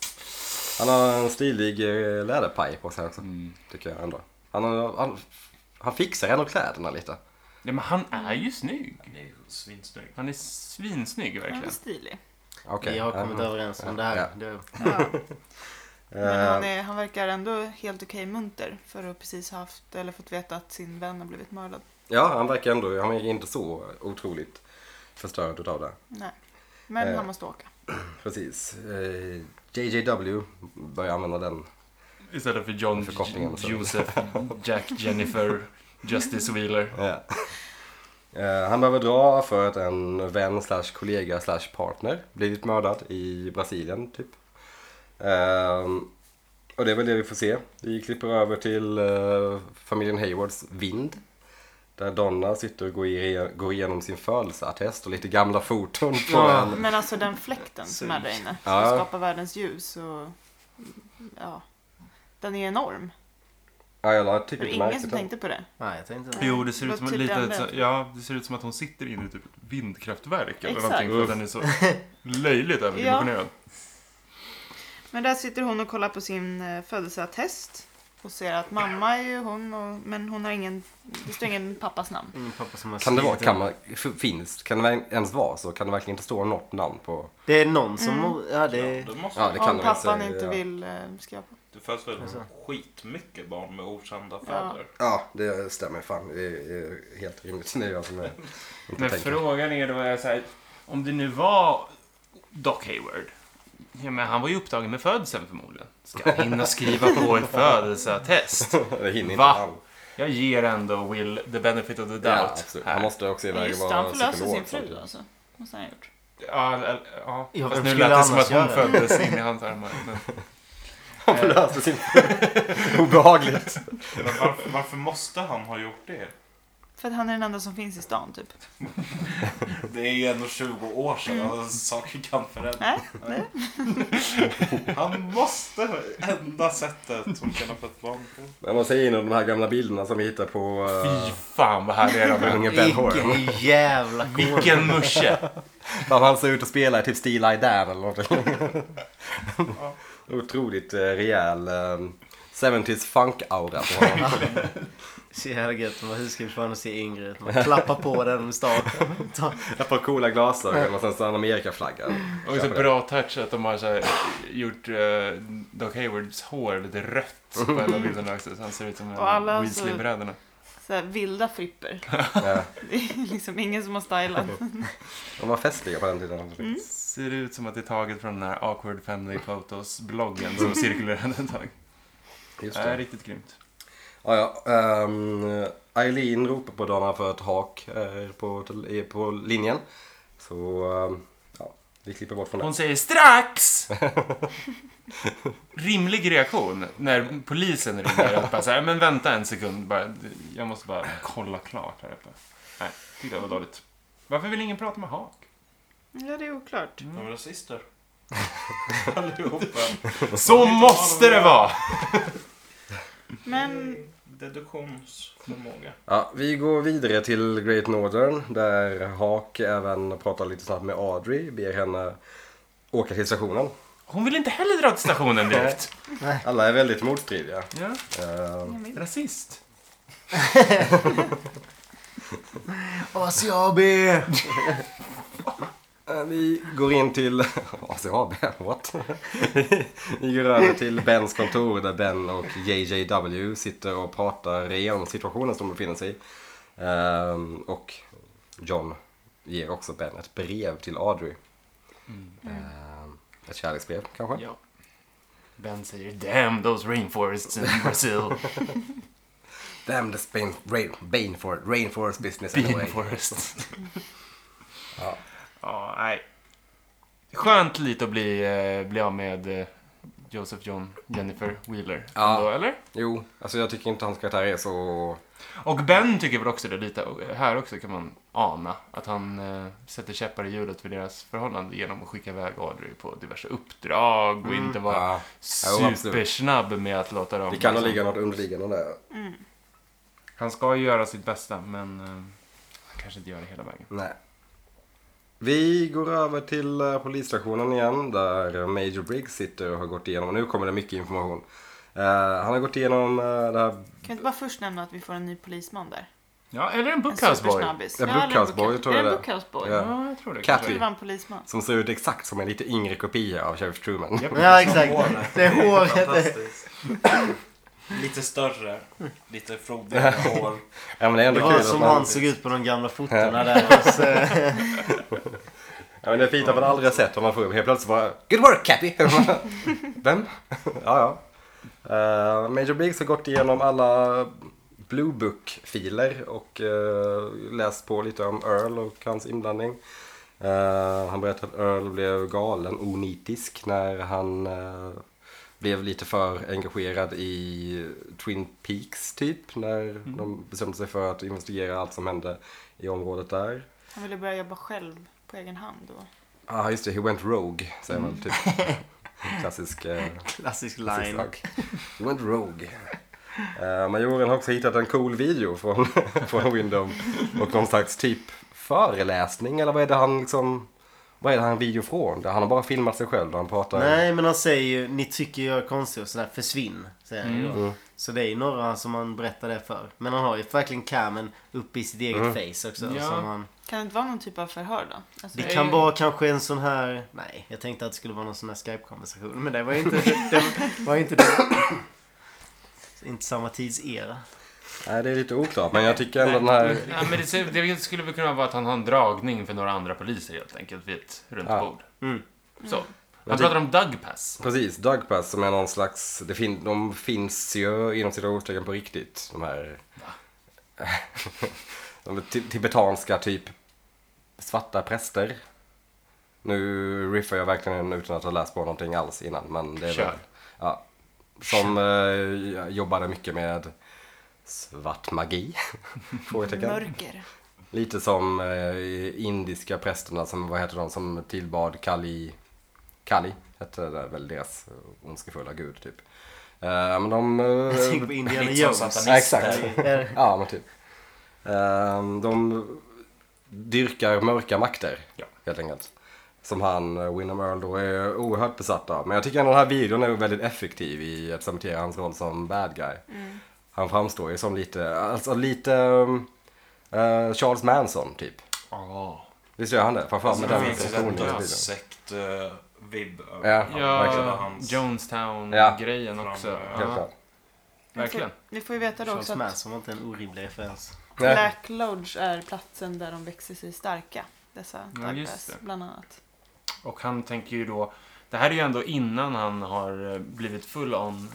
A: Han har en stilig eh, läderpaj på sig också,
C: Mm.
A: tycker jag ändå. Han, har- han, han fixar ändå kläderna lite.
C: Nej, men han är ju snygg.
D: Det är ju svinsnygg.
C: Han är svinsnygg
B: Han är
C: verkligen.
B: stilig.
A: Okej.
E: Vi har kommit
A: Ja.
E: överens om det här.
A: Ja.
E: Det,
B: Ja. Men
A: Eh,
B: han, är, han verkar ändå helt okej munter för att precis ha haft eller fått veta att sin vän har blivit mördad.
A: Ja, han verkar ändå, han är inte så otroligt förstörd utav det.
B: Nej. Men
A: Eh.
B: han måste åka.
A: Precis. Eh, JJW börjar använda den.
C: Istället för John,
A: Förkortningen och så.
C: Josef, Jack, Jennifer, Justice Wheeler.
A: Ja. Eh, han behöver dra för att en vän slash kollega slash partner blivit mördad i Brasilien typ. Ehm, och det är väl det vi får se. Vi klipper över till eh, familjen Haywards vind. Där Donna sitter och går, i, går igenom sin födelseattest och lite gamla foton på
E: Ja.
A: den.
B: Men alltså den fläkten som är där inne, som
A: Ja.
B: skapar världens ljus och... Ja. Den är enorm.
A: Ja, jag
B: Det
A: tycker
B: var
A: inte
B: ingen som
A: märkligt. det.
B: tänkte på det.
E: nej, jag tänkte inte.
C: Jo, det ser, ut som
B: Låter
C: lite,
B: den
C: så- ja, det ser ut som att hon sitter inne i typ ett vindkraftverk eller
B: Exakt.
C: någonting för att den är så löjligt överdimensionerad.
B: Men där sitter hon och kollar på sin eh, födelseattest. Och ser att mamma är ju hon, och, men hon har ingen... Det står ingen pappas namn.
E: Ingen pappa som har
A: Kan det vara,
E: skrivit
A: kan man, f- finns, kan det verk- ens vara så? Kan det verkligen inte stå något namn på?
E: Det är någon
C: Mm.
E: som... Ja, det...
D: Då måste
A: Ja, det kan
B: Om
A: det väl
B: pappan
A: säga,
B: inte
A: ja.
B: vill eh, skriva på.
D: Det föds väl skitmycket barn med okända fäder.
A: Ja, det stämmer fan. Det är helt rimligt. Det är jag som är, inte
C: Men
A: tänker.
C: frågan är då, är så här, om det nu var Doc Hayward. Ja, men han var ju upptagen med födseln förmodligen. Ska han hinna skriva på ett födelseattest?
A: Det hinner inte
C: Va?
A: han.
C: Jag ger ändå Will the benefit of the
A: Ja,
C: doubt.
A: absolut.
C: här.
A: han måste också
B: Ja,
A: iväg och
B: just det, han
A: vara
B: förlöser sin
A: psykolog.
B: fru
A: samtidigt.
B: alltså. Måste han ha gjort.
C: Ja, ja, ja.
E: Ja,
C: Fast
E: vem
C: nu
E: skulle
C: lät det som
E: annars
C: att hon
E: göra det?
C: föddes in i hans armar. Men...
A: Han förlöser sin fru. Obehagligt.
D: Men varför, varför måste han ha gjort det?
B: För att han är den enda som finns i stan typ.
D: Det är ju ändå 20 år sedan. Alltså, saker kan förändras.
B: Nej, nej.
D: Han måste enda sättet som kan ha fått barn på.
A: Men man ser in de här gamla bilderna som vi hittar på
C: Fy
A: uh,
C: fan vad härlig är de
A: unge
C: är.
A: Ben Horn.
E: Vilken jävla kål.
C: Vilken musche!
A: Där han ser ut att spela i typ Steel Eye Dan eller någonting. Otroligt eh, rejäl eh, 70s funk-aura på honom.
E: Så jävla gött. Man bara, Hur ska vi få henne att se yngre ut? Man klappar på den med staken. Ta-
A: Ett par coola glasögon och sen så en Amerikaflagga.
C: Och så
A: Köper det.
C: bra touch att de har så här, gjort eh, Doc Haywards hår lite rött på en av bilderna också. Så han ser ut som en
B: Och alla alltså så-
C: av Weasley-bröderna.
B: Så här, vilda fripper.
A: Ja,
B: Det är liksom ingen som har stylat.
A: De var festliga på den tiden.
B: Mm.
C: Ser ut som att det är taget från den här Awkward Family Photos-bloggen som cirkulerade ett tag.
A: Just
C: Det är
A: det.
C: riktigt grymt.
A: Ja, ja. ehm, Eileen ropar på Donna för ett hak eh, på, eh, på linjen. Så ehm, ja, vi klipper bort från det.
C: Hon säger strax! Rimlig reaktion när polisen ringer och bara så här, men vänta en sekund, bara, jag måste bara kolla klart här uppe. Nej, tyckte jag var dåligt. Varför vill ingen prata med Hak?
B: Ja, det är oklart.
D: De är rasister. Allihopa.
C: Så måste det vara!
B: Men
D: Deduktionsförmåga.
A: Ja, vi går vidare till Great Northern där Hawk även pratar lite snabbt med Audrey, ber henne åka till stationen.
C: Hon vill inte heller dra till stationen direkt.
A: Alla är väldigt motstridiga.
C: Ja,
A: Eh,
B: jag vet-
C: rasist.
E: ACAB!
A: Eh, vi går in till... ACAB, what? vi går över till Bens kontor där Ben och JJW sitter och pratar igenom situationen som de befinner sig i. Ehm, och John ger också Ben ett brev till Audrey. Ehm, ett kärleksbrev kanske?
C: Mm. Ja. Ben säger damn those rainforests in Brazil.
A: Damn the Spain, rain, bane for, rainforest business anyway.
C: Rainforest.
A: Ja.
C: Ja, nej. Skönt lite att bli, eh, bli av med eh, Joseph John Jennifer Wheeler.
A: Ja.
C: Ändå, eller?
A: Jo, alltså jag tycker inte hans karaktär är så...
C: Och Ben tycker väl också det lite. Och Här också kan man ana att han eh, sätter käppar i hjulet för deras förhållande genom att skicka iväg Audrey på diverse uppdrag och inte vara
A: Mm. Ja, Jo, absolut.
C: supersnabb med att låta dem...
A: Ah, det kan nog
C: liksom-
A: ligga något underliggande där.
B: Mm.
C: Han ska ju göra sitt bästa, men eh, han kanske inte gör det hela vägen.
A: Nej. Vi går över till eh, polisstationen igen där Major Briggs sitter och har gått igenom, och nu kommer det mycket information. Eh, han har gått igenom eh, det här
B: Kan vi inte bara först nämna att vi får en ny polisman där?
C: Ja, eller en
B: En
C: Bookhouse Boy.
B: supersnabbis.
A: Ja,
B: Ja, eller en
A: Bookhouse Boy,
B: bookhouse-
A: tror jag
B: Är det
A: det
B: en
A: är.
B: Bookhouse Boy?
A: Ja.
C: Ja, jag tror det.
B: Jag tror det
A: Cathy.
C: kanske.
B: var en polisman.
A: som ser ut exakt som en lite yngre kopia av Sheriff Truman.
C: Japp.
E: Ja, exakt.
D: Håret.
E: Det är håret.
D: Fantastiskt. Lite större. Lite frodigare hår.
A: Ja, men det är
E: Det
A: ändå
E: var
A: kul att
E: som
A: man...
E: han såg ut på de gamla fotona där. Och så-
A: Ja, men det är fint att man aldrig har sett vad man får upp. Helt plötsligt bara Good work Cappy! Vem? ja, ja. Eh, Major Briggs har gått igenom alla Blue Book-filer och eh, läst på lite om Earl och hans inblandning. Eh, han berättar att Earl blev galen onitisk när han eh, blev lite för engagerad i Twin Peaks typ. När de bestämde sig för att investigera allt som hände i området där.
B: Han ville börja jobba själv på egen hand då.
A: Ja, ah, just det. He went rogue, säger man typ. Klassisk eh,
E: Klassisk
A: klassisk
E: Mm. line.
A: sak. He went rogue. Eh, Majoren har också hittat en cool video från, från Windom och någon slags typ föreläsning eller vad är det han liksom... Vad är det han video från? Där Han har bara filmat sig själv och han pratar...
E: Nej men han säger ju, ni tycker jag är konstig och sådär, försvinn. Säger han ju då. Så det är ju några som han berättar det för. Men han har ju verkligen kamen uppe i sitt eget face också.
C: Ja.
E: Som han,
B: Kan det inte vara någon typ av förhör då? Alltså,
E: det
C: Nej.
E: kan vara kanske en sån här, nej jag tänkte att det skulle vara någon sån här Skype-konversation. Men det var ju inte det. Var ju inte, det. inte samma tidsera.
A: Nej, det är lite oklart men jag tycker ändå den här...
C: Ja, men det, ser- det skulle väl kunna vara att han har en dragning för några andra poliser helt enkelt vid ett runt
A: Ja.
C: bord.
E: Mm.
C: Så. Han
A: Jag
C: pratar om Doug Pass.
A: Precis, Dugpass som är någon slags... Det fin, de finns ju inom citationstecken på riktigt. De här... de ti- tibetanska typ svarta präster. Nu riffar jag verkligen utan att ha läst på någonting alls innan. Men det är
C: Kör.
A: väl, ja, Som eh, jobbade mycket med svart magi. Frågetecken.
B: mörker.
A: Lite som eh, indiska prästerna som, vad heter de, som tillbad Kali, Kali hette det väl deras eh, ondskefulla gud typ. Eh, men de...
E: Jag tänker
A: Eh,
E: på Indiana
D: Lite som
E: Jones.
D: satan.
A: ja, exakt.
E: Är-
A: ja men typ. Eh, de dyrkar mörka makter
C: Ja.
A: helt enkelt. Som han, eh, William Earl då, är oerhört besatt av. Men jag tycker ändå den här videon är väldigt effektiv i att cementera hans roll som bad guy. Han framstår ju som lite, alltså lite um, eh, Charles Manson typ.
C: Ja.
A: Visst gör han det? Framförallt med
D: Alltså, det
A: den
D: finns ju
A: personen.
D: en
A: Ja.
D: eh, dödsekt-vibb
A: Ja, verkligen.
C: Ja,
D: hans...
A: Ja.
C: Jonestown-grejen också.
A: Helt
D: Fram-
C: Ja,
A: klart.
C: verkligen.
B: Vi får ju veta då
E: Charles
B: också att
E: Manson var inte en orimlig referens.
A: Nej.
B: Black Lodge är platsen där de växer sig starka. Dessa
C: Ja, just
B: Dagbergs
C: det.
B: bland annat.
C: Och han tänker ju då... Det här är ju ändå innan han har eh, blivit full on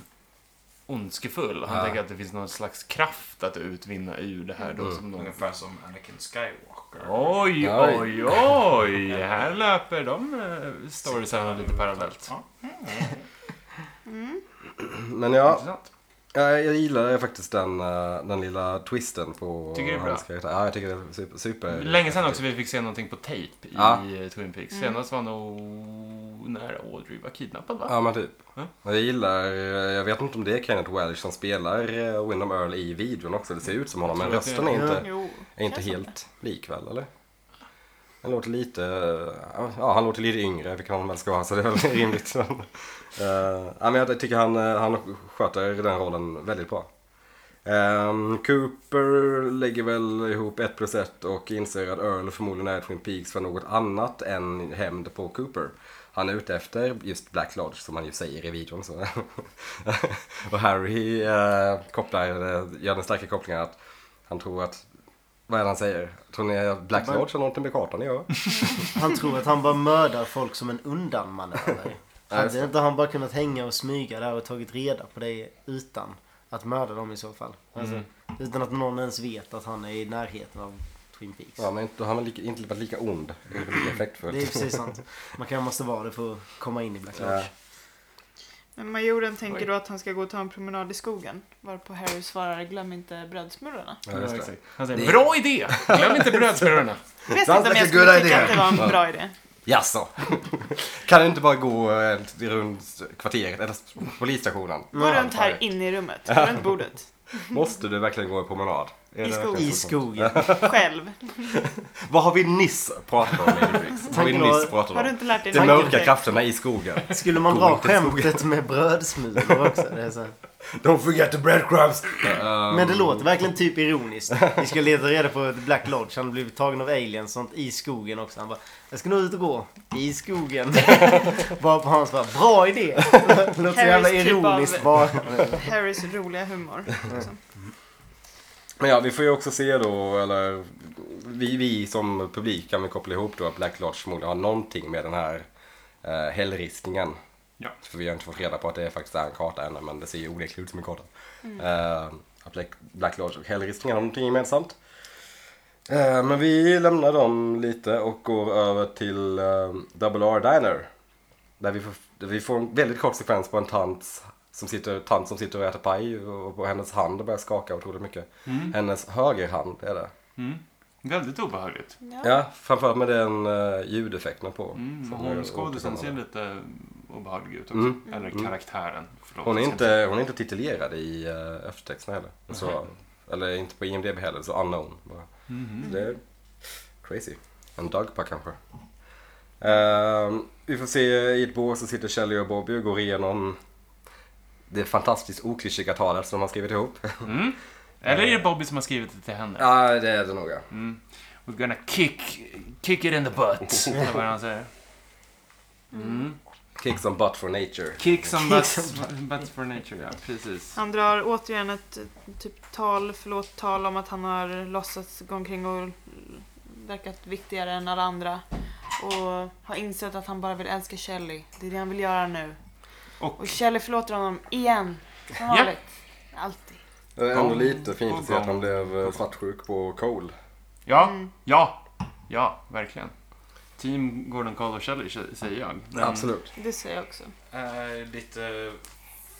C: ondskefull. Han
A: Ja.
C: tänker att det finns någon slags kraft att utvinna ur det här då
A: Mm.
C: som någon...
D: Ungefär som Anakin Skywalker.
C: Oj,
A: Oj.
C: oj, oj! Här löper de eh, storiesarna lite parallellt.
D: Ja.
A: Men ja,
C: Intressant.
A: Ja, jag gillar faktiskt den, eh, den lilla twisten på
C: Tycker du det är
A: hans
C: bra?
A: karaktär. Ja, jag tycker det är super. super
C: Länge sedan också vi fick se någonting på tejp i
A: Eh, Ja.
C: eh, Twin Peaks.
B: Mm.
C: Senast var nog när Audrey var kidnappad va?
A: Ja, men typ.
C: Ja.
A: Och Jag gillar, eh, jag vet inte om det är Kenneth Welch som spelar eh, Windham Earl i videon också. Det ser ut som honom, men
C: Jag tror
A: rösten
C: det.
A: är inte,
B: Jo,
A: är inte
B: känns som
A: helt lik väl, eller? Han låter lite, eh, ja han låter lite yngre, vilket han väl ska vara, så det är väl rimligt. Men, eh, ja, men jag tycker han, eh, han sköter den rollen väldigt bra. Ehm, Cooper lägger väl ihop ett plus ett och inser att Earl förmodligen är Twin Peaks för något annat än hämnd på Cooper. Han är ute efter just Black Lodge som han ju säger i videon. Så. och Harry eh, kopplar, eh, gör den starka kopplingen att han tror att, vad är det han säger? Tror ni att Black
E: Bara-
A: Lodge har någonting med kartan att göra?
E: Han tror att han bara mördar folk som en undanmanöver.
A: just
E: Hade inte han bara kunnat hänga och smyga där och tagit reda på det utan att mörda dem i så fall? Alltså,
A: Mm.
E: Utan att någon ens vet att han är i närheten av Twin Peaks.
A: Ja, men då har man lika, inte varit lika ond, inte lika effektfull.
E: Det är precis sant. Man kan måste vara det för att komma in i Black Lodge.
A: Ja.
B: Men majoren tänker
C: Oj.
B: då att han ska gå och ta en promenad i skogen. Varpå Harry svarar glöm inte brödsmulorna.
A: Ja, just det.
C: exakt. Han säger bra idé! Glöm inte brödsmulorna.
B: Jag vet
A: Sounds
B: inte om
A: like
B: jag
A: a
B: skulle
A: good
B: tycka
A: idea.
B: att det var
A: Ja.
B: en bra idé.
A: Jaså? kan du inte bara gå eh, runt kvarteret eller polisstationen?
B: Gå runt här inne i rummet, gå runt bordet.
A: Måste du verkligen gå en promenad? Är
B: I
A: det
B: skogen.
A: verkligen
E: I
A: så?
E: skogen.
B: Själv.
A: Vad har vi nyss pratat om i Netflix? Har vi
E: Tanken var-
A: nyss pratat
B: Har du
A: om?
B: inte lärt dig
A: De
B: något?
A: mörka krafterna i skogen.
E: Skulle man
A: Gå
E: dra
A: inte i skogen.
E: skämtet med brödsmulor också? Det är så här.
A: Don't forget the breadcrumbs!
E: Men det låter verkligen typ ironiskt. Vi ska leta reda på ett Black Lodge. Han blev tagen av aliens och sånt i skogen också. Han bara, jag ska nog ut och gå. I skogen. bara på hans bara, bra idé. Låter så jävla
B: Harrys typ av-
E: ironiskt bara.
B: Harrys roliga humor. liksom.
A: Men ja, vi får ju också se då, eller vi, vi som publik kan vi koppla ihop då att Black Lodge förmodligen har någonting med den här eh, hällristningen.
C: Ja.
A: För vi har inte fått reda på att det faktiskt är en karta ännu, men det ser ju onekligen ut som en karta. Eh, att Black, Black Lodge och hällristningen har någonting gemensamt. Eh, men vi lämnar dem lite och går över till eh, Double R Diner. Där vi får, där vi får en väldigt kort sekvens på en tant som sitter, tant som sitter och äter paj och på hennes hand börjar skaka otroligt mycket. Hennes högerhand är det.
C: Mm. Väldigt obehagligt.
A: Ja, framförallt med den uh, ljudeffekten på.
C: Mm,
A: Så
C: och
A: det är
C: hon skådisen ser
A: återkommande.
C: lite obehaglig ut också.
A: Mm.
C: Eller
A: Mm.
C: karaktären. Förlåt,
A: hon är,
C: jag ska
A: inte, hon är inte titulerad i uh, eftertexterna heller. Så,
C: Mhm.
A: Eller inte på IMDB heller, så unknown bara.
C: Mhm.
A: Det är crazy. En dagpa kanske. Ehm, vi får se i ett bås så sitter Shelley och Bobby och går igenom det fantastiskt oklyschiga talet som de har skrivit ihop.
C: Mm. Eller är det Bobby som har skrivit det till henne?
A: ja, det är det nog ja.
C: Mm. We're gonna kick, kick it in the butt. Det är vad han säger. Mm.
A: Kick some butt for nature.
C: Kick some butts, butts for nature, ja. Precis.
B: Han drar återigen ett eh, typ tal, förlåt tal om att han har låtsats gå omkring och verkat viktigare än alla andra. Och har insett att han bara vill älska Shelley. Det är det han vill göra nu.
C: Och-
B: och Shelley förlåter honom igen. Som
C: Ja.
B: vanligt. Alltid.
A: Det är ändå
C: Gång
A: lite fint att
C: på
A: se att
C: gång
A: han blev eh, svartsjuk på Cole.
C: Ja,
B: Mm.
C: ja, ja, verkligen. Team Gordon Cole och Shelley sä- säger jag. Men-
A: Absolut.
B: Det säger jag också.
D: är Eh, lite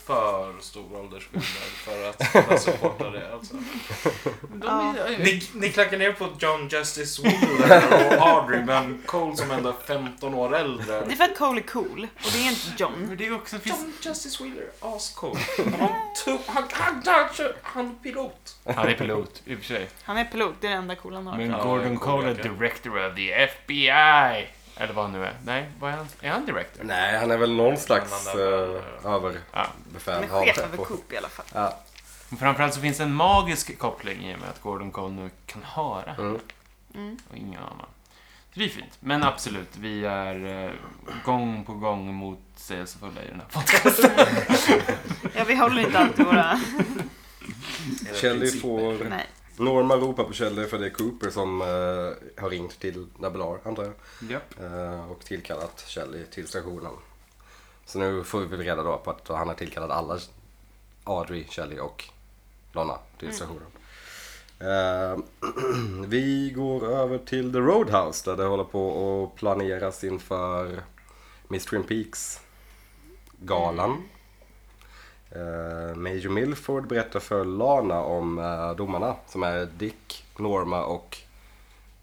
D: för stor åldersskillnad för att kunna supporta det. Alltså.
C: De är,
D: Ni, ni klackar ner på John Justice Wheeler och Audrey, men Cole som ändå är 15 år äldre.
B: Det är för att Cole är cool. Och det är inte John.
C: men det är också finns...
D: John Justice Wheeler, ascool. Han, tog- han, han, han, han är pilot.
C: Han är pilot, i och för sig.
B: Han är pilot. Det är det enda coola han har.
C: Men
D: Ja,
C: Gordon Cole är
D: Kodiak, ja.
C: director of the FBI. Eller vad han nu är. Nej, vad är han? Är han director?
A: Nej, han är väl någon slags
D: Han är
A: eh,
D: väl, eh,
A: överbefälhavare.
C: Ja.
B: Han är chef
A: på-
B: över Coop i alla fall.
A: Ja.
C: Men framförallt så finns det en magisk koppling i och med att Gordon Cole nu kan höra
A: Mm.
B: Mm.
C: och ingen annan. Så det är fint. Men absolut, vi är eh, gång på gång motsägelsefulla i den här podcasten.
B: Ja, vi håller inte alltid våra...
A: Kelly får...
B: Nej.
A: Norma ropar på Kelly för det är Cooper som eh, har ringt till Nabelar, antar jag.
C: Ja.
A: Eh, och tillkallat Kelly till stationen. Så nu får vi väl reda då på att han har tillkallat alla Audrey, Kelly och Donna till stationen. Eh, vi går över till The Roadhouse där det håller på att planeras inför Miss Twin Peaks-galan. Eh, Major Milford berättar för Lana om eh, domarna som är Dick, Norma och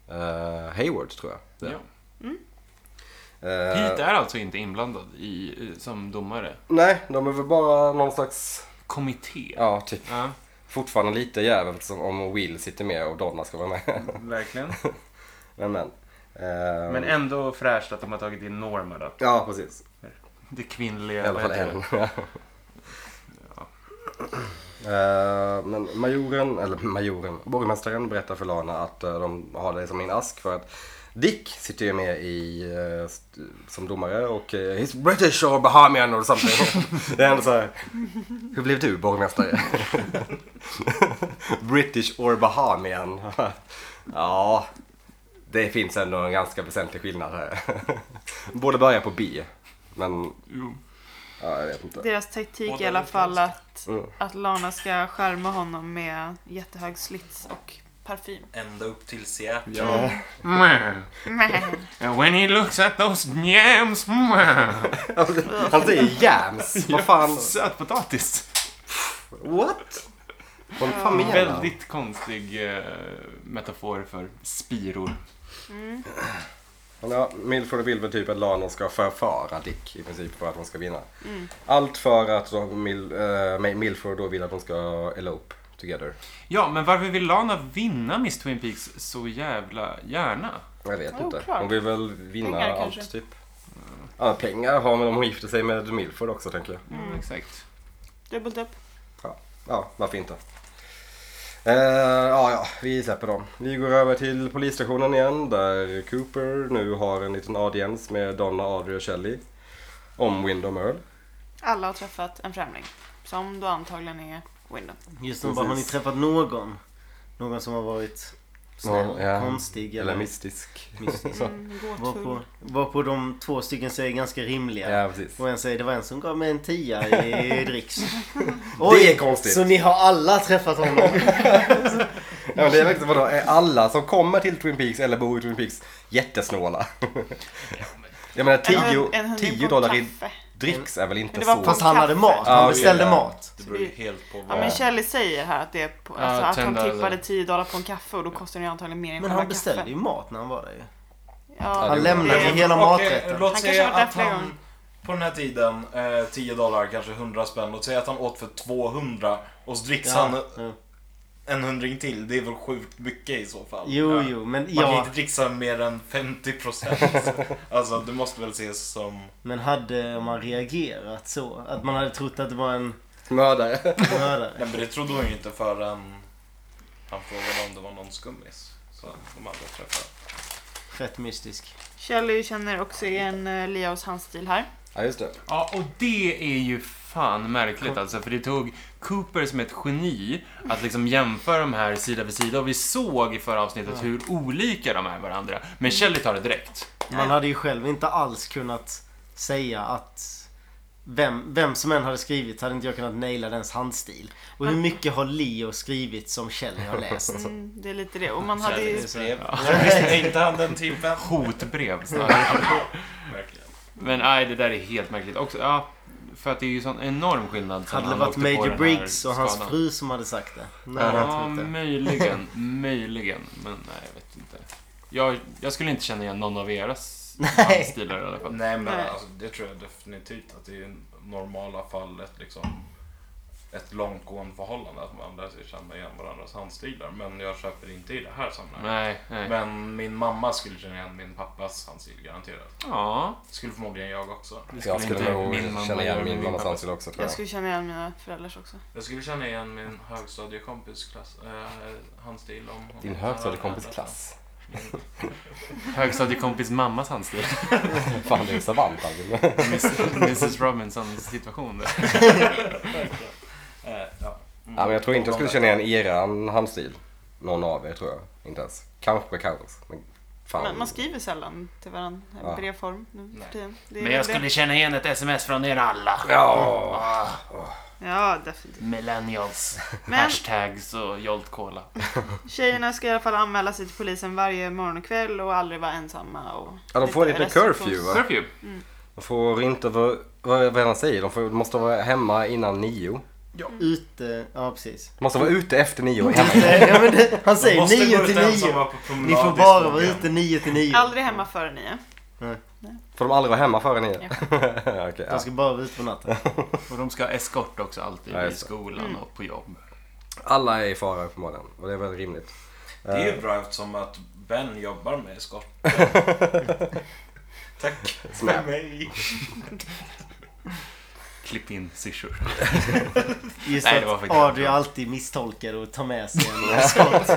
A: eh, Hayward tror jag. det är.
C: Ja.
A: Eh,
C: Pete är alltså inte inblandad i, eh, som domare.
A: Nej, de är väl bara någon slags,
C: Kommitté.
A: ja typ,
C: Ja.
A: fortfarande lite jävligt som om Will sitter med och Donna ska vara med.
D: Verkligen.
A: men men. Eh,
D: Men ändå fräscht att de har tagit in Norma då.
A: Ja, precis.
C: Det
A: I
C: kvinnliga.
A: alla fall
C: vad heter
A: en.
C: det?
A: Eh, men majoren, eller majoren, borgmästaren berättar för Lana att eh, de har det som en ask för att Dick sitter ju med i, eh, st- som domare och eh, he's British or Bahamian or something. det är ändå så här, hur blev du borgmästare? British or Bahamian? ja, det finns ändå en ganska väsentlig skillnad här. Borde börja på B, men
C: Jo.
A: ja, jag vet inte.
B: Deras taktik
D: Och
B: i alla
D: den
B: fall att,
A: Mm.
B: att Lana ska skärma honom med jättehög slits och parfym.
D: Ända upp till Seattle.
A: Ja.
C: Mm.
B: Men,
C: When he looks at those yams. mm.
A: Han säger Alltså, jams, vad fan.
C: Sötpotatis.
A: What? Håll fan med Väldigt...
C: Väldigt konstig eh, metafor för spiror.
A: Ja, Milford vill väl typ att Lana ska förföra Dick i princip för att hon ska vinna. Allt för att de, Mil, eh, Milford då vill att de ska elope together.
C: Ja, men varför vill Lana vinna Miss Twin Peaks så jävla gärna?
A: Jag vet
B: Ja,
A: inte.
B: klart.
A: Hon vill väl vinna
B: Pengar
A: allt
B: kanske.
A: typ. Ja, pengar har man om hon gifter sig med Milford också tänker jag.
C: Mm. exakt.
B: dubbelt upp.
A: Ja, varför inte? Eh, ja, ja, vi släpper dem. Vi går över till polisstationen igen där Cooper nu har en liten audiens med Donna, Audrey och Shelley. Om Windom Earl.
B: Alla har träffat en främling. Som då antagligen är Wyndham.
E: Just det, bara, har ni
A: Precis.
E: träffat någon? Någon som har varit snäll,
A: Ja, ja.
E: konstig eller,
A: Eller mystisk.
E: mystisk?
B: Mm,
E: Varpå,
B: gåtfull.
E: varpå de två stycken säger ganska rimliga.
A: Ja, precis.
E: Och en säger det var en som gav mig en tia i dricks.
A: Det är konstigt.
E: Så ni har alla träffat honom?
A: Ja, men det är verkligen vadå, är alla som kommer till Twin Peaks eller bor i Twin Peaks jättesnåla? Jag menar
B: En hund-
A: 10
B: en hundring
A: 10
B: på
A: dollar i
B: kaffe.
A: dricks är väl inte
B: Men det var
A: så...
E: Fast han hade mat.
A: Ja,
E: Han beställde
A: ja.
E: mat.
D: Det beror ju helt på
B: Ja
D: vad...
B: men Kelly säger här att det är på,
C: Ja,
B: alltså, att han
C: tända-
B: tippade 10 dollar på en kaffe och då kostar det ju antagligen mer än
E: Men
B: själva
E: han beställde
B: kaffe.
E: ju mat när han var där ju.
B: Ja, Mm.
A: det
E: Han
A: var-
E: lämnade ju
B: det-
E: hela
D: Okej,
E: maträtten.
D: låt
B: Han
D: säga
B: kanske har varit
D: att
B: där flera
D: han på den här tiden, eh, 10 dollar, kanske 100 spänn. Låt säga att han åt för 200 och så dricks han
E: ja.
D: en hundring till. Det är väl sjukt mycket i så fall.
E: Jo,
D: Ja.
E: jo, men
D: Man kan
E: ja.
D: inte dricksa mer än 50%. alltså det måste väl ses som...
E: Men hade man reagerat så? Att man hade trott att det var en
A: Mördare.
E: mördare?
D: Nej men det trodde hon ju inte förrän han frågade om det var någon skummis. Så de aldrig träffade.
E: Fett mystisk.
B: Kelly känner också igen eh, Leos handstil här.
A: Ja, just det.
C: Ja, och det är ju fan märkligt alltså, för det tog Cooper som ett geni att liksom jämföra de här sida vid sida och vi såg i förra avsnittet hur olika de är varandra. Men Shelley tar det direkt.
E: Man hade ju själv inte alls kunnat säga att vem, vem som än hade skrivit hade inte jag kunnat naila dens handstil. Och hur mycket har Leo skrivit som Shelley har läst?
B: Mm, det är lite det. Och man hade ju...
D: Visste inte han den timmen?
C: Hotbrev snarare.
D: Verkligen.
C: Men nej, det där är helt märkligt också. Ja, för att det är ju sån enorm skillnad. sen
E: Hade det
C: han
E: varit
C: åkte på den
E: Major
C: här
E: Briggs och hans
C: skadan.
E: fru som hade sagt det? Nej, jag
C: Ja,
E: tror
B: Mm.
E: inte.
C: möjligen. Möjligen. Men nej, jag vet inte. Jag, jag skulle inte känna igen någon av eras handstilar i alla fall.
D: Nej men
B: Nej.
D: Alltså, det tror jag definitivt att det är normala fallet liksom. ett långtgående förhållande, att man lär sig känna igen varandras handstilar. Men jag köper inte i det här sammanhanget.
C: Nej, nej.
D: Men min mamma skulle känna igen min pappas handstil garanterat.
C: Ja.
D: Skulle förmodligen jag också.
C: det
A: Jag skulle nog
C: min mamma
A: känna
C: göra,
A: igen min mammas
C: pappa.
A: handstil också tror
B: Jag
A: jag.
B: skulle känna igen mina föräldrars också.
D: Jag skulle känna igen min högstadiekompis klass, eh, handstil om hon-
A: Din högstadiekompis klass.
C: Högstadiekompis mammas handstil.
A: Fan du är alltså. savant Albin.
C: Mrs Robinsons situation där.
D: Eh, ja. Mm.
A: Ja, men jag tror inte jag skulle känna igen eran handstil. Någon av er tror jag. Inte ens. Kanske Carros. Men fan.
B: Man, man skriver sällan till varandra.
A: Ja.
B: Ja. Brevform nu
D: Nej.
B: för tiden. Det är
C: Men jag
B: det.
C: skulle känna igen ett sms från er alla.
A: Ja.
C: Ah,
B: Ja, definitivt.
C: millennials.
B: Men
C: Hashtags och Jolt Cola.
B: tjejerna ska i alla fall anmäla sig till polisen varje morgon och kväll och aldrig vara ensamma. Och
A: Ja, de får en liten curfew va?
C: Curfew.
A: De får inte vara, vad vad han säger, de får, de måste vara hemma innan nio.
E: Ute, ja precis.
A: De måste vara ute efter nio och hemma.
E: ja, men det, han
D: De
E: säger
D: måste
E: 9
D: gå ut
E: till 9.
D: ensamma på promenad
E: Ni
D: i
E: får bara vara
D: skogen.
E: ute 9 till 9.
B: Aldrig hemma före nio.
A: Får de aldrig vara hemma före nio? Okej,
E: De
A: ja.
E: ska bara vara ute på natten.
C: Och de ska ha eskort också alltid
A: Ja,
C: i
A: just det.
C: skolan och på jobb.
A: Alla är i fara uppenbarligen och det är väl rimligt. Eh,
D: Det är ju bra eftersom att Ben jobbar med eskort. Tack
A: Snap.
D: för mig.
C: Klipp in syrsor.
E: Just
C: Nej, det var
E: att
C: faktiskt
E: Adrian
C: bra.
E: alltid misstolkar och tar med sig en skott.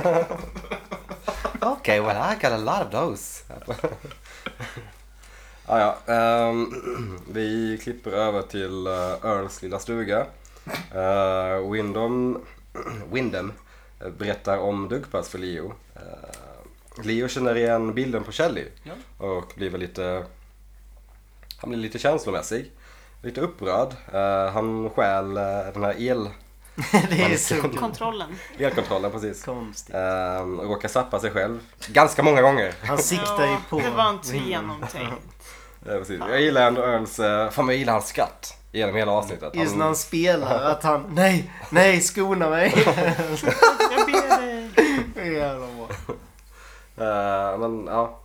A: Okej, well I got a lot of those. ah, ja, ehm, vi klipper över till eh, Earls lilla stuga. Uh, Windom, Windom eh, berättar om Dugpass för Leo. Eh, Leo känner igen bilden på Shelly
C: Ja.
A: och blir väl lite, han blir lite känslomässig. Lite upprörd. Eh, han stjäl eh, den här el,
E: Det är så
B: Kontrollen.
A: elkontrollen precis.
E: konstigt.
A: Uh, råkar sappa sig själv ganska många gånger.
E: Han siktar ju
B: Ja,
E: på...
B: Det var inte genomtänkt.
A: Ja, precis. Jag gillar ändå Earls, eh, fan jag gillar hans skratt genom hela avsnittet.
E: Just
A: Han,
E: när han spelar, att han nej, nej, skona mig.
B: Jag ber dig.
E: Det är Jävla bra.
A: eh, men, ja,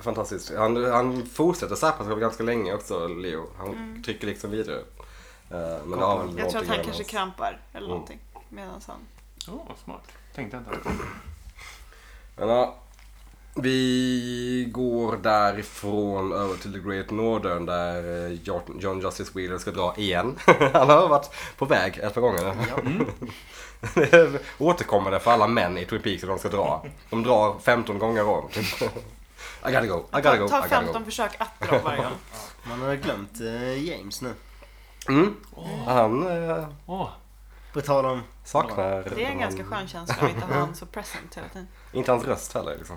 A: fantastiskt. Han, han fortsätter sappa sig själv ganska länge också, Leo. Han trycker liksom vidare. Eh, men det har väl
B: Mm. Jag tror att
A: någonting Mm. med
B: han kanske
A: hans-
B: krampar eller någonting. Medan han...
C: Åh, smart. Tänkte inte på.
A: Men, ja, vi går därifrån över till The Great Northern där eh, Jo- John Justice Wheeler ska dra igen. Han har varit på väg ett par gånger. Det
B: Mm.
A: är Återkommande för alla män i Twin Peaks hur de ska dra. De drar 15 gånger om. typ. I gotta go, I gotta go, I
B: Ta
A: gotta go.
B: 15 försök att dra varje gång.
E: Man har glömt eh, James nu.
A: Mm. Han eh,
C: Åh,
E: På tal om...
A: saknar...
B: Det är en
A: någon-
B: ganska skön känsla att inte ha han så present hela tiden.
A: Inte hans röst heller liksom.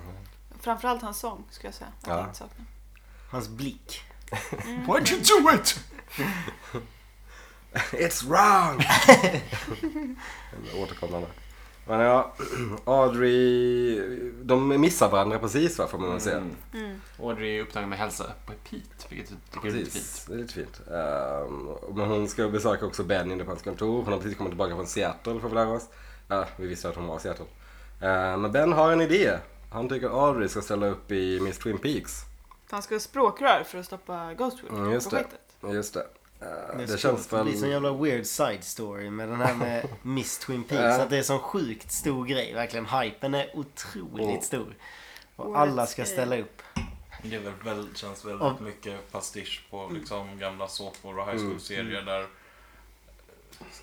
B: Framförallt hans sång skulle jag säga. Att
A: Ja.
B: jag inte saknar.
E: Hans blick.
B: Mm.
C: Why'd you do it?
A: It's wrong! Eller Återkommande. Men ja, Audrey, de missar varandra precis va får man väl säga.
C: Mm, Audrey är upptagen med hälsa på Pete, vilket jag tycker är lite fint.
A: Precis, det är lite fint. Ehm, men hon ska besöka också Ben inne på hans kontor. Hon har precis kommit tillbaka från Seattle får vi lära oss. Ja, vi visste att hon var i Seattle. Ehm, men Ben har en idé. Han tycker att Audrey ska ställa upp i Miss Twin Peaks.
B: Han ska ha språkrör för att stoppa Ghostwood.
A: Mm, just det.
B: projektet.
A: Just det. Ehm,
E: Det,
A: det känns väl...
E: bli sån jävla weird side story med den här med Miss Twin Peaks.
A: Ja.
E: Att det är sån sjukt stor grej. Verkligen. Hypen är
A: Mm.
E: otroligt stor. Och
B: Årets
E: alla ska
B: grej.
E: ställa upp.
D: Det är väl, väl, känns väldigt
E: Av-
D: mycket pastisch
E: Mm.
D: på liksom, gamla såpor och high school-serier där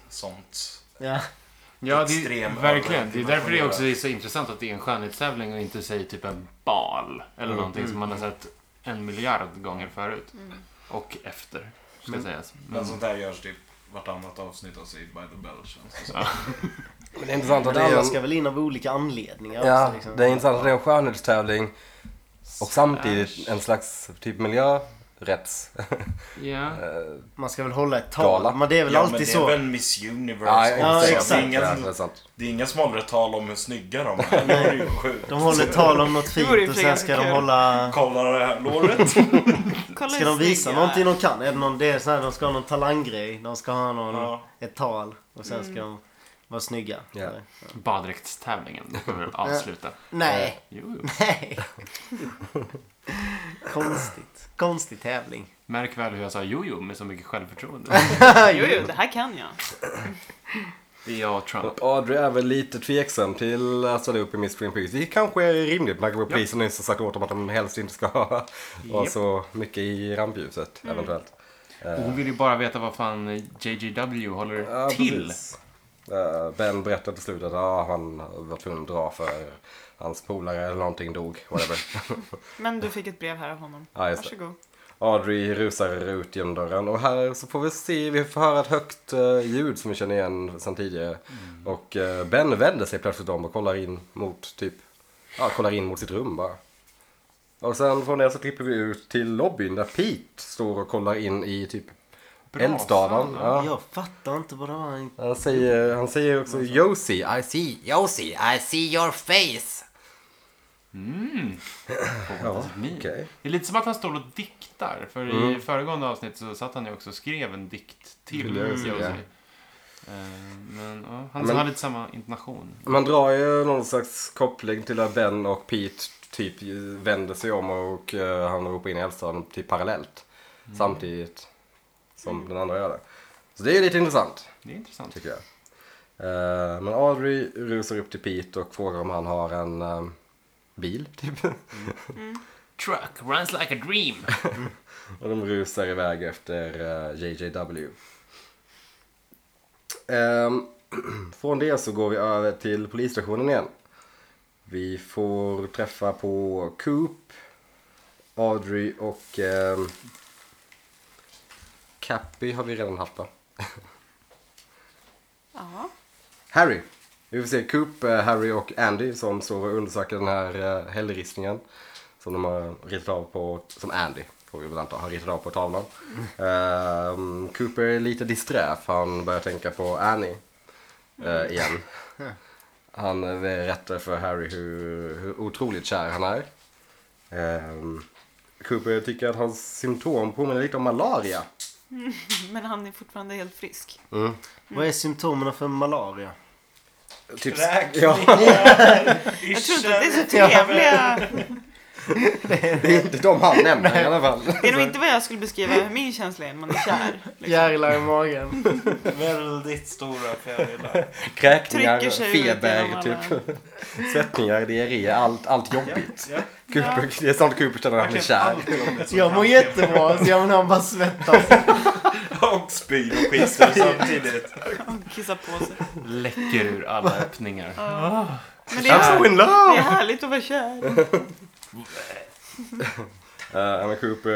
D: sånt.
E: Ja.
C: Ja, det är,
D: Extrem
C: verkligen. Det är
D: överdimensionerad.
C: därför det också är så intressant att det är en skönhetstävling och inte säg typ en bal eller
D: Mm.
C: någonting som man har sett en miljard gånger förut. Och efter, ska sägas. Mm.
D: Men
C: Men,
D: sånt där görs typ vartannat avsnitt av Saved by the Bell känns det som.
A: Men det är intressant att
E: Men
A: det är
E: alla
A: en...
E: ska väl in av olika anledningar
A: Ja,
E: också, liksom.
A: det är intressant att det är en skönhetstävling och samtidigt en slags typ miljörätts...
C: ja.
E: Man ska väl hålla ett
A: Gala.
E: tal. Men det är väl
D: ja, men
E: alltid
D: det
E: så.
D: är väl Miss Universe
A: Ja,
D: också.
E: Ja,
A: exakt.
D: Det är
E: exakt.
A: Ja, det är
D: inga,
A: sant.
D: det är inga smalare tal om hur snygga de är. Det är ju sjukt.
E: De håller ett tal om något
B: vore ju
E: fint och
B: för
E: sen ska
B: ganska
E: de
B: kul.
E: hålla...
D: Kolla det här låret.
B: Kolla
E: Ska
B: hur
E: de visa
B: snygga-
E: någonting de kan? Är det, någon, det är så här, de ska ha någon talanggrej. De ska ha någon,
D: Ja. Mm.
E: ett tal. Och sen ska de vara snygga.
A: Ja.
E: Eller?
A: Eh.
C: Baddräktstävlingen. Det kommer vi att avsluta.
E: Nej.
C: Jo, jo.
E: Nej. Konstigt. Konstig tävling.
C: Märk väl hur jag sa jojo med så mycket självförtroende.
B: Jo, jo, det här kan jag.
C: Det är jag och Trump.
A: Och Audrey är väl lite tveksam till att ställa upp i Miss Twin Peaks. Det kanske är rimligt med tanke på att polisen nyss har sagt åt dem att de helst inte ska ha vara
C: Japp.
A: så mycket i rampljuset eventuellt.
C: Och Hon vill ju bara veta vad fan JJW håller
A: Ja,
C: till.
A: precis. Eh, Ben berättade till slut att ah, han var tvungen att dra för hans polare eller någonting dog. Whatever.
B: Men du fick ett brev här av honom.
A: Ja, just det.
B: Varsågod.
A: Audrey rusar ut genom dörren och här så får vi se, vi får höra ett högt eh, ljud som vi känner igen sedan tidigare. Och eh, Ben vänder sig plötsligt om och kollar in mot typ, ja kollar in mot sitt rum bara. Och sen från det så klipper vi ut till lobbyn där Pete står och kollar in i typ
C: Brasan,
A: eldstaden. Ja.
E: Jag fattar inte vad det var. han-
A: Han, säger, han säger också Josie, I see, Josie, I see your face.
C: Mm.
A: Ja,
C: Min.
A: okej. Mm.
C: Det är lite som att han står och diktar. För i föregående avsnitt så satt han ju också och skrev en dikt till
A: Mm,
C: Josie.
A: ja.
C: Eh, Men ja, han
A: Men-
C: har lite samma intonation.
A: Man drar ju någon slags koppling till att Ben och Pete typ vänder sig om och eh, han ropar in i eldstaden typ parallellt. Samtidigt som den andra gör det. Så det är lite intressant
C: Det är intressant.
A: tycker jag. Eh, men Audrey rusar upp till Pete och frågar om han har en eh, bil typ.
C: Mm. Truck runs like a dream.
A: Och de rusar iväg efter eh, JJW. Ehm, från det så går vi över till polisstationen igen. Vi får träffa på Coop, Audrey och ehm, Cappy har vi redan haft va?
B: Ja.
A: Harry! Vi får se Coop, eh, Harry och Andy som står och undersöker den här eh, hällristningen. Som de har ritat av på, som Andy får vi väl anta, har ritat av på tavlan. Ehm, Cooper är lite disträ för han börjar tänka på Annie eh, igen. Han eh, berättar för Harry hur, hur otroligt kär han är. Ehm, Cooper tycker att hans symptom påminner lite om malaria.
B: Men han är fortfarande helt frisk.
E: Vad är symptomen för malaria?
A: Typ,
D: Kräkning.
A: ja,
B: Jag tror inte att det är så trevliga...
A: det är inte de han nämner i alla fall.
B: Det är nog inte vad jag skulle beskriva hur min känsla är när man är kär. Liksom.
E: Fjärilar i magen.
D: Väldigt stora fjärilar.
A: Kräkningar,
B: Trycker sig ut
A: feber,
B: genom alla-
A: typ. svettningar, diarré, allt, allt jobbigt.
D: Ja,
A: Cooper, det är sånt Cooper känner när han är
D: verkligen
A: kär.
D: allt om det som
E: Jag mår
D: kan
E: jättebra. Så jag menar han bara svettas.
D: ske. Och spyr och skiter samtidigt.
B: Och kissar på sig.
C: Läcker ur alla öppningar.
B: Men det
A: I'm
B: är,
A: so in
B: det är
A: love!
B: härligt att vara kär.
A: Eh, men Cooper,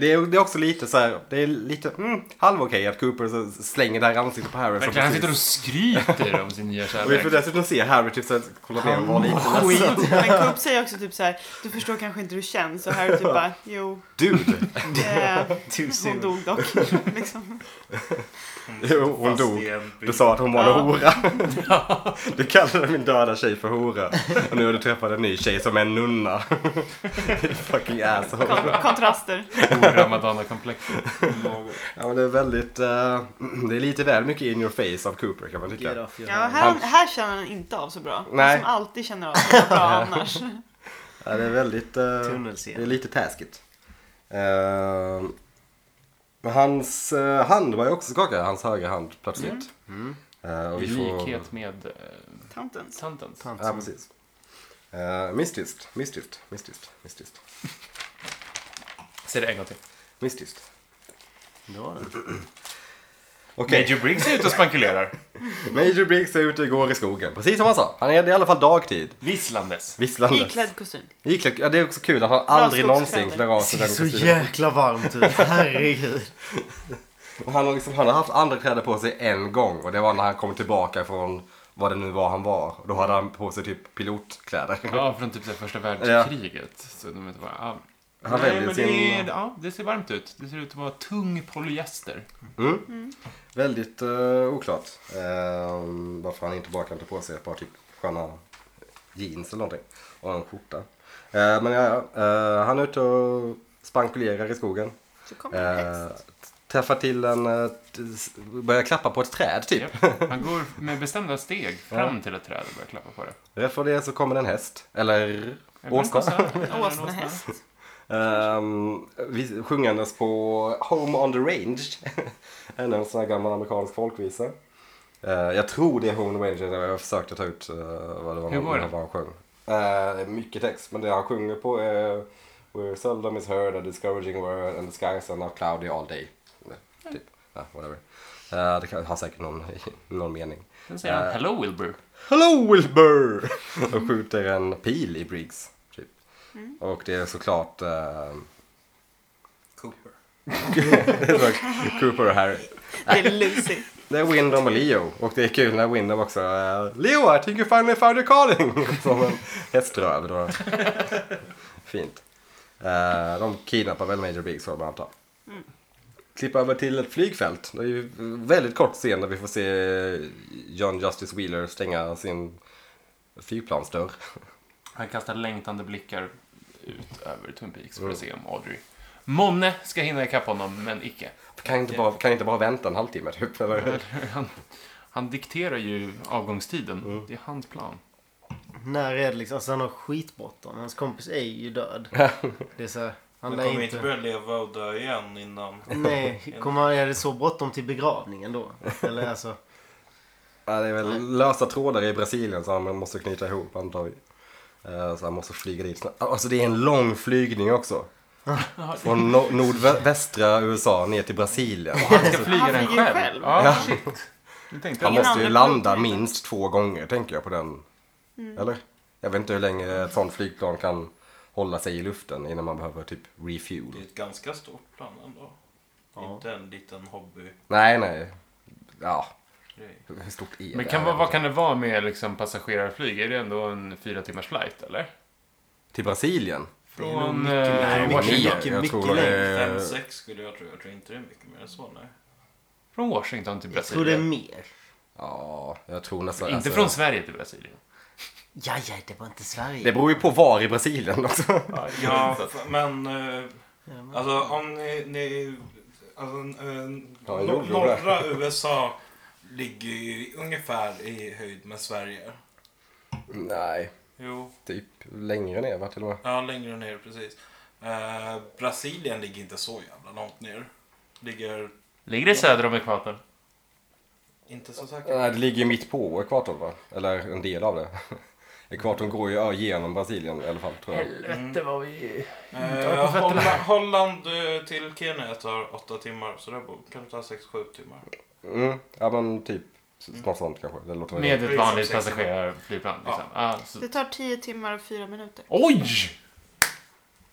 A: det är, det är också lite så här, det är lite mm, halv okej att Cooper så slänger det här ansiktet på Harry. som
C: Verkligen, han
A: precis-
C: sitter och skryter om sin nya
A: och vi får
C: kärlek.
A: dessutom se Harry typ såhär, kolla ner och vara lite ledsen.
B: Men Coop säger också typ så här, du förstår kanske inte hur det känns. Och Harry typ bara, jo,
A: Dude!
B: det,
E: Too
B: hon
E: soon.
B: dog dock. Liksom.
A: Jo, hon
D: Fast i
A: dog.
D: en bil.
A: Du sa att hon var
B: Ja.
A: en hora. Du kallade min döda tjej för hora. Och nu har du träffat en ny tjej som är en nunna. Fucking asshole.
B: Kon- kontraster.
C: Stora Madonna-komplexet.
D: Något.
A: Ja men det är väldigt, eh, det är lite väl mycket in your face av Cooper kan man
E: Get
A: tycka.
E: off your
B: Ja,
E: hand.
B: här, här känner han inte av så bra.
A: Nej.
B: Han som alltid känner av så bra annars.
A: Ja, det är väldigt, eh,
E: Tunnelseende.
A: det är lite taskigt. Eh, men hans eh, hand var ju också skakad, hans högra hand plötsligt. Eh, och
C: I
A: vi får,
C: likhet med eh,
B: Tantens.
C: tantens.
A: Ja precis. Eh, mystiskt, mystiskt, mystiskt, mystiskt,
C: Säg det en gång till.
A: mystiskt.
E: Det var det.
A: Okej,
C: Major Briggs är ute och spankulerar.
A: Major Briggs är ute och går i skogen. Precis som han sa, han är det är i alla fall dagtid.
C: Visslandes.
A: Visslandes.
B: Iklädd kostym.
A: Iklädd. Ja, det är också kul att han aldrig någonsin
B: skogskläder.
A: klär av sig
E: ser
A: den
E: så
A: kostymen.
E: jäkla varmt ut. Herregud.
A: Och han, har liksom, han har haft andra kläder på sig en gång och det var när han kom tillbaka från vad det nu var han var. Och då hade han på sig typ pilotkläder.
C: Ja, från typ det första världskriget. Så de inte bara, ah.
A: Han
C: Nej,
A: väljer
C: men
A: sin...
C: det, är, ja, det ser varmt ut. Det ser ut att vara tung polyester.
A: Mm. Väldigt eh, oklart Ehm, varför han inte bara kan ta på sig ett par typ sköna jeans eller någonting. Och en skjorta. Eh, men ja, ja. Eh, han är ute och spankulerar i skogen.
B: Så kommer en
A: Uh,
B: häst.
A: träffar till en... eh, t- s- börjar klappa på ett träd typ.
C: Japp. Han går med bestämda steg fram till ett träd och börjar klappa på det.
A: Rätt för det så kommer det en häst. Eller
C: Är det en
A: åsna.
C: kossa? Är det en
B: Åsnehäst.
C: åsna?
A: Ehm, vi sjungandes på Home on the Range. Ännu en sån här gammal amerikansk folkvisa. Eh, jag tror det är Home on the Range. Jag försökte ta ut eh, vad det var,
C: Hur går det?
A: vad han sjöng. Eh, det är mycket text, men det han sjunger på är We're seldom is heard, a discouraging word and the skies are now cloudy all day. Eh, Typ. Ja, whatever. Eh, det kan, har säkert någon, någon mening.
C: Sen säger han
A: Eh.
C: Hello Wilbur.
A: Hello Wilbur! Och skjuter en pil i Briggs. Typ. Och det är såklart eh,
D: Cooper.
A: det är såklart Cooper och Harry.
B: Det är Lucy.
A: Det är Windom och Leo. Och det är kul när Windom också eh, Leo, I think you finally found your calling! Som en häströv. Då. Fint. Eh, de kidnappar väl Major Briggs får man anta. Klippa över till ett flygfält. Det är ju en väldigt kort scen där vi får se John Justice Wheeler stänga sin flygplansdörr.
C: Han kastar längtande blickar ut över Twin Peaks för att
A: Mm.
C: se om Audrey. Monne ska hinna ikapp honom, men icke.
A: Kan inte, bara, kan inte bara vänta en halvtimme typ? Eller?
C: Han, han dikterar ju avgångstiden.
A: Mm.
C: Det är hans plan.
E: När är det liksom, alltså han har skitbråttom. Hans kompis är ju död. Det är så här, han
D: Han
E: lär
D: kommer
E: inte...
D: inte börja leva och dö igen innan.
E: Nej, kommer han göra det så bråttom till begravningen då? Eller alltså,
A: Ja, det är väl lösa trådar i Brasilien som man måste knyta ihop antar vi. Eh, Så han måste flyga dit snabbt. Alltså det är en lång flygning också. Från no- nordvästra USA ner till Brasilien.
C: Han ska flyga
B: Han
C: den
B: flyger
C: själv.
B: själv.
C: Ja, det tänkte
A: Han
C: jag.
A: måste ju landa minst två gånger tänker jag på den.
C: Mm.
A: Eller? Jag vet inte hur länge ett sånt flygplan kan hålla sig i luften innan man behöver typ refuel.
D: Det är ett ganska stort plan ändå. Inte en liten hobbygrej.
A: Nej, nej. Ja, hur stort är
C: Men
A: det?
C: kan,
A: här
C: vad, vad
A: egentligen?
C: kan det vara med liksom, passagerarflyg? Är det ändå en fyra timmars flight, eller?
A: Till Brasilien?
C: Från
E: mycket
C: eh,
E: mer.
C: Washington.
E: mycket,
A: Jag
E: mycket
A: tror det är-
D: Fem, sex skulle jag tro. Jag tror inte det är mycket mer än så. Nej.
C: Från Washington till
E: jag tror det är
C: Brasilien.
E: mer.
A: Ja, jag tror nästan...
C: Inte
A: alltså-
C: från Sverige till Brasilien.
E: Ja, ja, det var inte Sverige.
A: Det beror ju på var i Brasilien också.
D: Ja, f- men eh,
E: Ja, men-
D: alltså om ni... ni alltså, eh,
A: Ja,
D: nor-
A: jo, jo,
D: norra USA ligger ju ungefär i höjd med Sverige.
A: Nej,
D: Jo,
A: typ längre ner va till och med.
D: ja längre ner precis. Eh, Brasilien ligger inte så jävla långt ner. Ligger
C: Ligger det söder om ekvatorn?
D: inte så säkert.
A: Nej, det ligger ju mitt på ekvatorn va? Eller en del av det. Ekvatorn går ju genom Brasilien i alla fall tror jag.
C: Helvete vad vi...
D: Eh, Holland, Holland eh, till Kenya tar åtta timmar så det bo- kan ta sex sju timmar.
A: Mm, ja men typ något sånt kanske. Det låter väl
C: Med ett
D: Precis,
C: vanligt
D: precis.
C: passagerarflygplan. Liksom. Ah, så...
B: Det tar 10 timmar och 4 minuter.
C: Oj!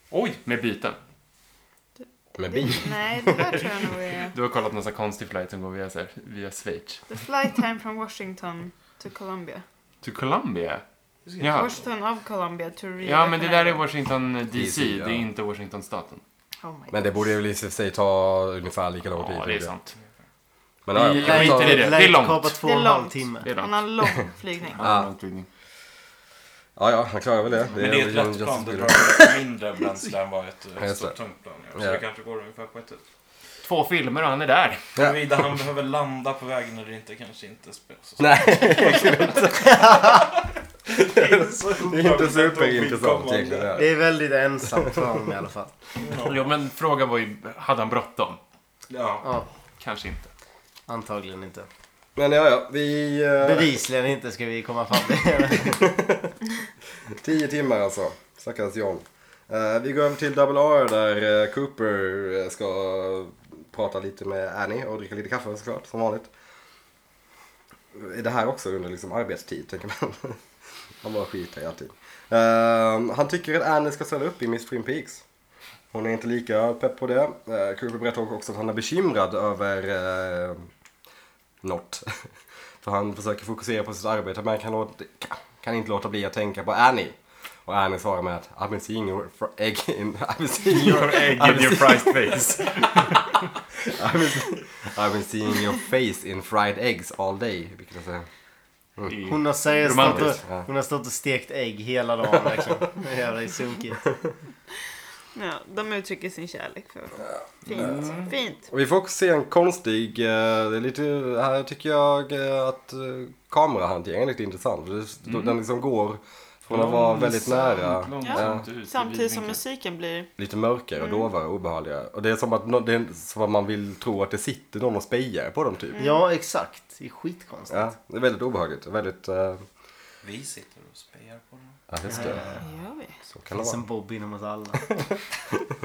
C: Oj, med byten.
A: med bil.
B: Nej, det där tror jag nog är...
C: Du har kollat massa konstig flight som går via, så här, via Schweiz.
B: The flight time from Washington to Colombia.
C: Till Colombia? Ja.
B: Washington of Colombia to Rio.
C: ja, men det där är
B: Canada.
C: Washington DC.
A: DC, ja.
C: Det är inte Washington-staten.
B: Oh my
A: Men det borde väl i och för sig ta ungefär lika lång tid.
C: Ja, det är
A: tänker jag.
C: sant.
A: Men ja,
C: Vi
A: ja, vi
C: skiter i
A: tar-
C: det.
E: lär
C: Det är
E: inte
C: långt.
E: kapa två
B: Det
E: och
B: är
E: en halv
B: långt.
E: timme.
C: Det är
B: Han
C: långt.
B: har en lång flygning.
A: Ja. ja, ja, han klarar väl det.
D: Men det är ett
A: John
D: lätt
A: Justice
D: plan. Det
A: Wheeler.
D: drar lite mindre bränsle än vad ett eh,
A: Just
D: stort
A: det.
D: tungt plan gör. Så
A: Ja.
D: det kanske går ungefär på ett ut.
C: Två filmer och han är där.
A: Ja.
D: Huruvida han behöver landa på vägen eller inte kanske inte spelar så stor
A: Nej, verkligen inte.
D: roll.
A: det är inte superintressant egentligen. det här.
E: Det är väldigt ensamt för honom i alla fall.
C: Jo, men frågan var ju, hade han bråttom?
D: Ja.
E: Ja,
C: Kanske inte.
E: antagligen inte.
A: Men ja, ja, vi... eh,
E: Bevisligen inte ska vi komma fram till.
A: Tio timmar alltså. Stackars John. Eh, vi går över till Double R där eh, Cooper eh, ska prata lite med Annie och dricka lite kaffe såklart, som vanligt. Är det här också under liksom arbetstid, tänker man. han bara skiter i allting. Eh, han tycker att Annie ska ställa upp i Miss Twin Peaks. Hon är inte lika pepp på det. Eh, Cooper berättar också att han är bekymrad över eh, något. För han försöker fokusera på sitt arbete men kan, låta, kan inte låta bli att tänka på Annie. Och Annie svarar med att I've been seeing your fr- egg in... I've been seeing your
C: Egg
A: in your
C: fried face.
A: I've been, I've been seeing your face in fried eggs all day. Vilket jag säger.
E: Hon har seriöst stått
C: Romantiskt,
E: och, hon har stått och stekt ägg hela dagen verkligen. Det är jävla sunkigt.
B: Ja, de uttrycker sin kärlek för varandra. Fint. Fint.
A: Och vi får också se en konstig, eh, det är lite, Mm. här tycker jag eh, att eh, kamerahanteringen är lite intressant. Det- Den liksom går Från att vara väldigt nära. eh,
C: Långsamt ut i
B: Samtidigt som
C: vidvinkel.
B: musiken blir...
A: Lite mörkare, dovare, obehagligare. Och det är som att, nå- det är som att man vill tro att det sitter någon och spejar på dem typ.
E: Ja, exakt. Det är skitkonstigt.
A: Ja, det är väldigt obehagligt. Väldigt... eh,
D: Vi sitter och spejar på dem.
A: Ja, just det.
B: Gör vi?
A: Så
E: Det
A: kan det
E: finns
A: vara.
E: en Bob inom oss alla.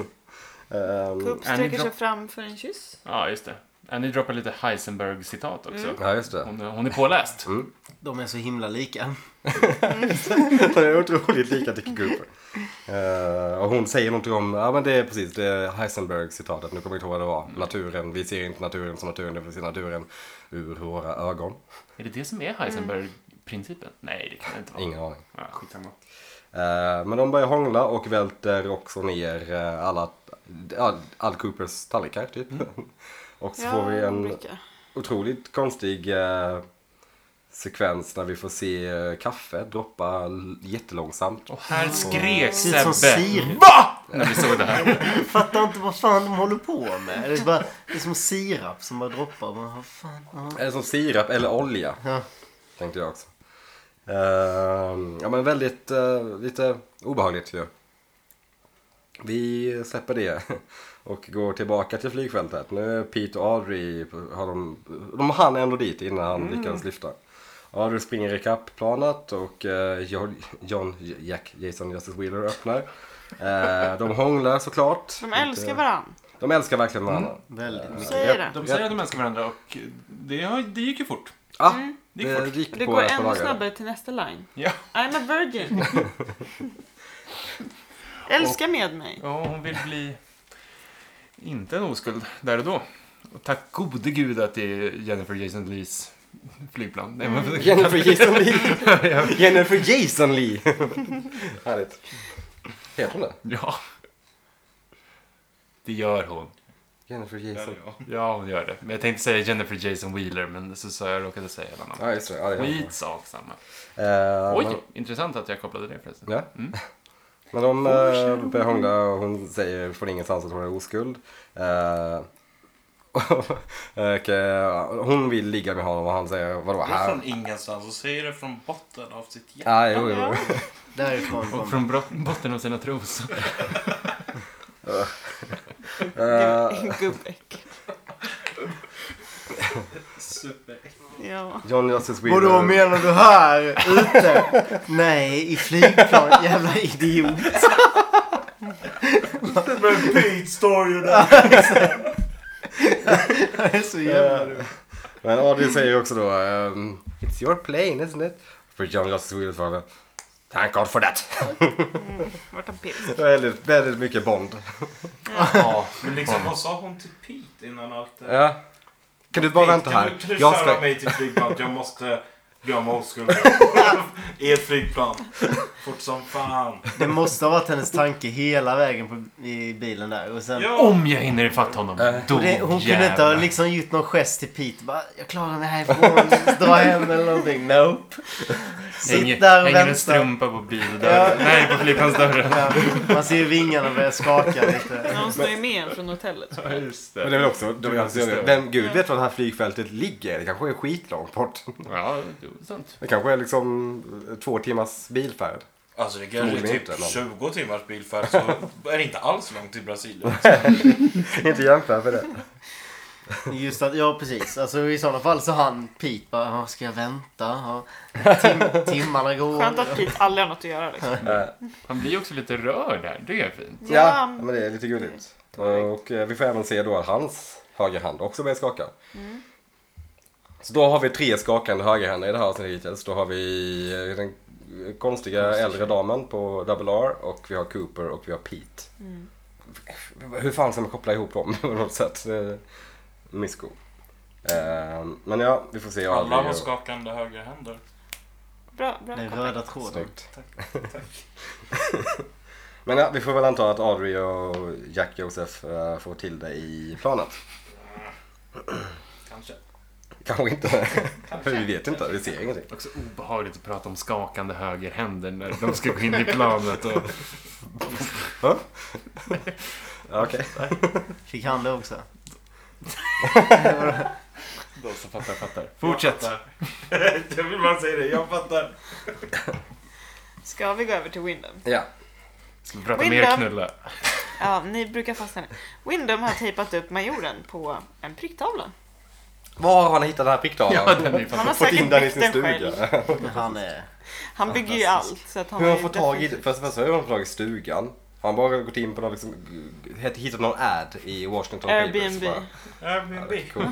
A: Ehm,
B: Coop
C: Är ni
B: sträcker sig
C: bra-
B: fram för en kyss.
C: Ja, just det. Annie droppar lite Heisenberg-citat också.
A: Ja, just det. Mm.
C: Hon, är- hon är påläst.
E: De är så himla lika.
A: Det är otroligt lika till Cooper. Eh, och hon säger någonting om, ja men det är precis det är Heisenberg citatet, nu kommer jag inte ihåg vad det var. Naturen, vi ser inte naturen som naturen, vi ser naturen ur våra ögon.
C: Är det det som är Heisenberg-principen? Nej, det kan det inte vara.
A: Ingen aning.
C: Ja, skitsamma.
A: Eh, men de börjar hångla och välter också ner eh, alla, all, all Coopers tallrikar typ. och så får vi en
B: olika.
A: otroligt konstig eh, sekvens när vi får se eh, kaffe droppa l- jättelångsamt.
C: Och här skrek
E: Ser ut som
C: Sebbe
E: sirap.
C: när vi såg det här.
E: Jag fattar inte vad fan de håller på med. Det är, bara, det är som sirap som bara droppar. Man, vad fan, ja.
A: Eller som sirap eller olja.
E: Ja.
A: Tänkte jag också. Ehm, ja men väldigt eh, lite obehagligt ju. Vi släpper det och går tillbaka till flygfältet. Nu är Pete och Audrey, har de, de hann ändå dit innan han
C: Mm.
A: lyckades lyfta. Audrey springer ikapp planet och eh, John, John, Jack, Jason Justice Wheeler öppnar. Eh, de hånglar såklart.
B: De älskar varandra.
A: De älskar verkligen varandra.
E: Väldigt mycket.
B: Säger det.
C: De säger att de älskar varandra och det, har, det gick ju fort.
A: Ah,
C: Det gick fort.
A: det gick
B: Det
A: på
B: går
A: ett par
B: ännu
A: dagar.
B: snabbare till nästa line.
C: Ja.
B: I'm a virgin. Älska med mig.
C: Ja, hon vill bli inte en oskuld där och då. Och tack gode gud att det är Jennifer Jason Lees flygplan. Nej,
E: Mm.
C: men,
A: Jennifer Jason Lee. Jennifer Jason Lee. Härligt. Heter hon det?
C: ja. Det gör hon.
A: Jennifer
D: Där
A: Jason.
D: är jag.
C: Ja, hon gör det. Men jag tänkte säga Jennifer Jason Wheeler, men så sa jag råkade säga hela namnet.
A: Ja, just det. Ja, det är
C: Skitsak samma.
A: hon. Eh,
C: Oj,
A: men-
C: intressant att jag kopplade det förresten.
A: Ja.
C: Mm.
A: Men de eh, börjar hångla och hon säger från ingenstans att hon är oskuld. Eh, och, eh, hon vill ligga med honom och han säger vadå
D: Det är
A: här?
D: från ingenstans och säger det från botten av sitt hjärta.
A: Ja, jo, jo.
B: Ja.
E: Därifrån
C: Och
E: kommer
C: från brott- botten av sina trosor.
A: Eh,
B: Gud, gubbäck.
D: Superäckligt.
B: Ja.
A: John Justice Wheeler.
E: Vadå menar du här ute? Nej, i flygplan. Jävla idiot.
D: Men Pete står ju där!
E: Jag är så jävla dum.
A: Men Audrey säger också då ehm, It's your plane isn't it? För John Justice Wheeler svarar Thank God for that.
B: Vart han pils.
A: väldigt, väldigt mycket Bond.
C: Ja,
D: Men liksom, vad sa hon till Pete innan allt det
A: Ja. Kan du bara
D: Pete,
A: vänta här?
D: Kan du, kan du
A: Jag
D: jag
A: ska...
D: mig till flygplanet? Jag måste gömma oskulden. I ett flygplan. Fort som fan.
E: Det måste ha varit hennes tanke hela vägen på, i bilen där. Och sen,
D: Ja.
C: om jag hinner ifatt honom, då
E: och det, hon kunde inte ha
C: jävlar.
E: liksom gjort någon gest till Pete. Bara, jag klarar mig härifrån. Dra hem eller någonting. Nope.
C: Hänger,
E: Sitt där och
C: hänger en
E: vänta.
C: strumpa på bildörren. Nej, på flygplansdörren.
E: Ja, man ser ju vingarna börja skaka lite.
B: Någon står ju med en från hotellet.
C: Ja, just
A: Men det är väl också, då jag
C: måste
A: ser,
C: ställa.
A: vem gud vet var det här flygfältet ligger? Det kanske är skitlångt bort.
C: Ja, det är sant.
A: Det kanske är liksom två timmars bilfärd.
D: Alltså det kanske är
A: Förmodligen inte,
D: typ
A: men-
D: 20 timmars bilfärd så är det inte alls långt till Brasilien.
A: Inte jämför för det.
E: Just att, ja precis. Alltså i sådana fall så han Pete bara, "Ja, ska jag vänta? Ja, Tim, timmarna går.
B: Skönt att Pete aldrig har något att göra liksom.
C: Han blir ju också lite rörd där. Det är fint.
A: Ja, men det är lite gulligt. Och eh, vi får även se då att hans högerhand också börjar skaka. Så då har vi tre skakande högerhänder i det här avsnittet hittills. Då har vi eh, den konstiga äldre damen på Double R och vi har Cooper och vi har Pete. Eh, Hur fan ska man koppla ihop dem på något sätt? Eh, Mysko. Eh, Men ja, vi får se.
D: Alla har
A: Och-
D: skakande högerhänder.
B: Bra, bra
E: Den
B: koppling.
E: röda tråden.
A: Snyggt.
D: Tack,
A: Men ja, vi får väl anta att Audrey och Jack Josef eh, får till det i planet.
D: Kanske.
A: Kanske inte. För vi vet inte, vi ser ingenting.
C: Också obehagligt att prata om skakande högerhänder när de ska gå in i planet. Och...
A: Ja, Okej.
E: Fick han det också?
C: De som fattar, fattar. Fortsätt.
D: Jag fattar. Jag vill bara säga det, jag fattar.
B: Ska vi gå över till Windham?
A: Ja.
C: Ska vi prata mer
B: Windham.
C: knulla?
B: Ja, ni brukar fastna nu. Windham har tejpat upp majoren på en pricktavla.
A: Var har ni hittat den här pricktavlan?
C: Ja, den är ju
B: Han
C: fan...
B: har
A: Fått in den i
B: säkert
A: sin
B: byggt den
A: stuga.
B: själv.
E: Han är...
B: Han bygger ju allt. Så att han
A: Hur har
B: ju
A: han fått tag i
B: definitivt-
A: det? Först och främst, hur har han fått tag i stugan? Har han bara gått in på någon, liksom, hett- hittat någon ad i Washington
B: Airbnb.
A: Papers?
D: Airbnb.
A: Cool.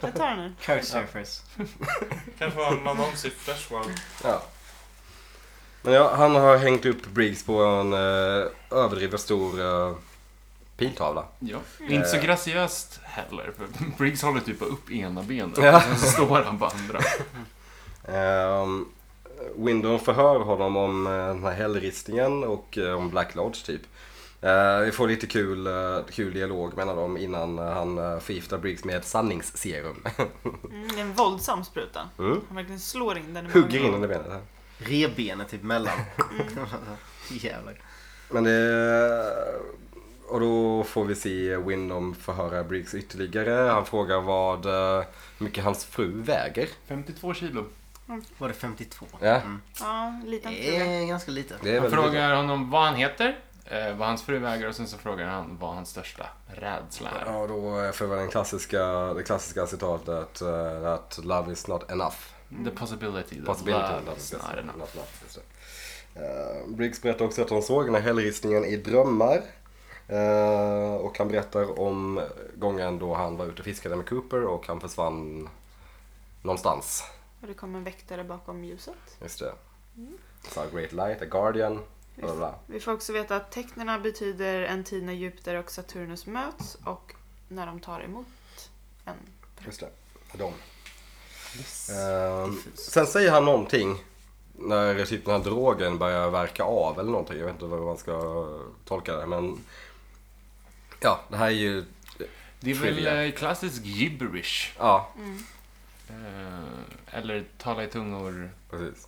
B: Jag tar den nu.
E: Couchsurfers.
D: Kanske var en annons i Freshworld.
A: Ja. Men ja, han har hängt upp Briggs på en eh, överdrivet stor eh, piltavla.
C: Ja. Inte så graciöst heller. För Briggs håller typ bara upp ena benet.
A: Ja.
C: och Sen så står han på andra.
A: Um, Windon förhör honom om eh, den här hällristningen och eh, om Black Lodge typ. Eh, vi får lite kul, eh, kul dialog mellan dem innan eh, han uh, förgiftar Briggs med ett sanningsserum.
B: Mm, det är en våldsam spruta.
A: Mm.
B: Han verkligen slår in den i
A: Hugger in
B: magen.
A: den i benet. här.
E: Revbenet typ mellan. Jävlar.
A: Men det... eh, Och då får vi se Windom förhöra Briggs ytterligare. Han frågar vad eh, hur mycket hans fru väger.
C: 52 kilo.
E: Var det 52?
A: Ja.
E: Mm.
B: Ja, liten
E: Det
B: fluga.
E: är ganska lite.
A: Det är
C: Han
A: väldigt lite.
C: frågar honom vad han heter, eh, vad hans fru väger och sen så frågar han vad hans största rädsla är.
A: Ja, då får vi den klassiska, det klassiska citatet eh, att love is not enough.
C: The possibility that
A: Possibility
C: love
A: of
C: is
A: that.
C: not enough.
A: Not enough, just det. Eh, Briggs berättar också att han såg den här hällristningen i drömmar. Eh, och han berättar om gången då han var ute och fiskade med Cooper och han försvann någonstans.
B: Och det kom en väktare bakom ljuset.
A: Just det. Så Great Light, A Guardian, bla bla, bla.
B: Vi får också veta att tecknena betyder en tid när Jupiter och Saturnus möts och när de tar emot en.
A: Just det. De.
E: Yes.
A: Ehm,
E: Diffus.
A: sen säger han någonting när typ den här drogen börjar verka av eller någonting. Jag vet inte vad man ska tolka det men ja, det här är ju,
C: Det är väl
A: Trivia.
C: eh, klassisk gibberish.
A: ja
C: Eh, eller tala i tungor-grej.
A: precis.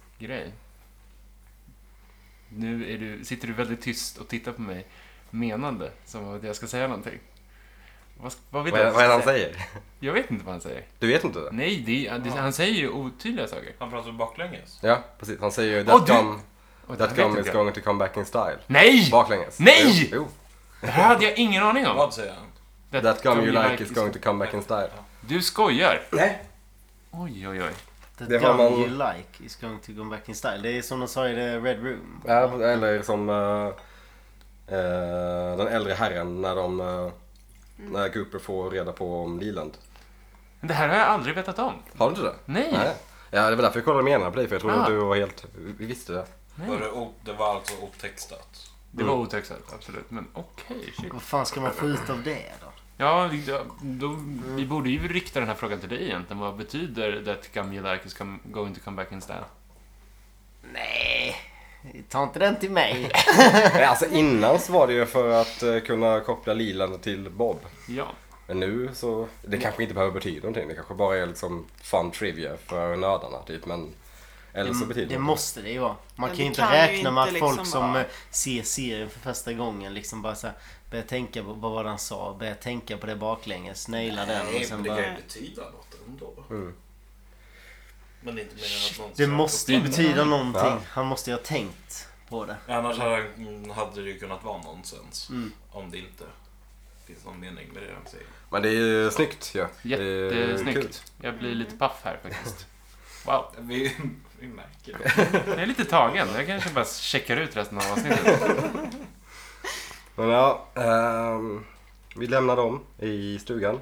C: Nu är du, sitter du väldigt tyst och tittar på mig menande, som att jag ska säga någonting. Vad, vad, vet
A: Vad
C: jag
A: är,
C: att
A: vad är det
C: jag
A: han
C: ska säga?
A: säger?
C: Jag vet inte vad han säger.
A: Du vet inte det?
C: Nej, det, är- det,
D: Ja.
C: han säger ju otydliga saker.
D: Han pratar baklänges.
A: Ja, precis. Han säger ju that
C: du-
A: gum,
C: Och det
A: that
C: vet
A: gum
C: inte
A: is
C: jag.
A: going to come back in style.
C: Nej!
A: Baklänges.
C: Nej!
A: Jo,
C: Det här hade jag ingen aning om.
D: Vad säger han?
A: jo. That gum you like is going to come back in style.
C: Du skojar?
A: Nej.
C: Oj, oj, oj.
E: The
A: Det
E: det
A: har man-
E: you like is going to go back in style. Det är som de sa i The Red Room.
A: Ja, eller som eh, eh, den äldre herren när de eh, när Cooper får reda på om Leland.
C: Men Det här har jag aldrig vetat om.
A: Har du inte det?
C: Nej.
A: Ja, det var därför jag kollade med på dig för jag trodde
C: Ah.
A: att du var helt... Vi visste det.
D: Var
C: Nej.
D: det, o- det var alltså otextat.
C: Det var otextat, absolut. Men okej, shit.
E: Vad fan ska man få ut av det då?
C: Ja, vi- då, då, vi borde ju rikta den här frågan till dig egentligen. Vad betyder that gum you like is come, going to come back in style?
E: Nej, ta inte den till mig.
A: Nej, alltså innan så var det ju för att eh, kunna koppla Leland till Bob.
C: Ja.
A: Men nu så, det kanske inte behöver betyda någonting. Det kanske bara är liksom fun trivia för nördarna typ. Men, eller så
E: Det,
A: betyder
E: det
A: Mm, det
E: måste det ju vara. Man
B: Ja,
E: kan
B: det
E: ju inte
B: kan ju
E: räkna
B: inte
E: med att
B: liksom
E: folk som
B: vara-
E: eh, ser serien för första gången liksom bara så här, börjar tänka på vad var det han sa, börjar tänka på det baklänges, naila den och sen bara...
D: betyda något ändå.
A: Mm.
D: Men det är inte mer än att någon
E: Det
D: söker
E: måste
D: upp
E: ju
D: det.
E: betyda någonting.
A: Ja.
E: Han måste ju ha tänkt på det.
D: Annars hade, mm, hade det ju kunnat vara nonsens.
E: Mm.
D: Om det inte finns någon mening med det han säger.
A: Men det är ju snyggt ju. Ja.
C: Jättesnyggt. Jag blir lite paff här faktiskt. Wow,
D: Vi, vi märker det.
C: jag är lite tagen. Jag kanske bara checkar ut resten av avsnittet.
A: Men ja, ehm, vi lämnar dem i stugan.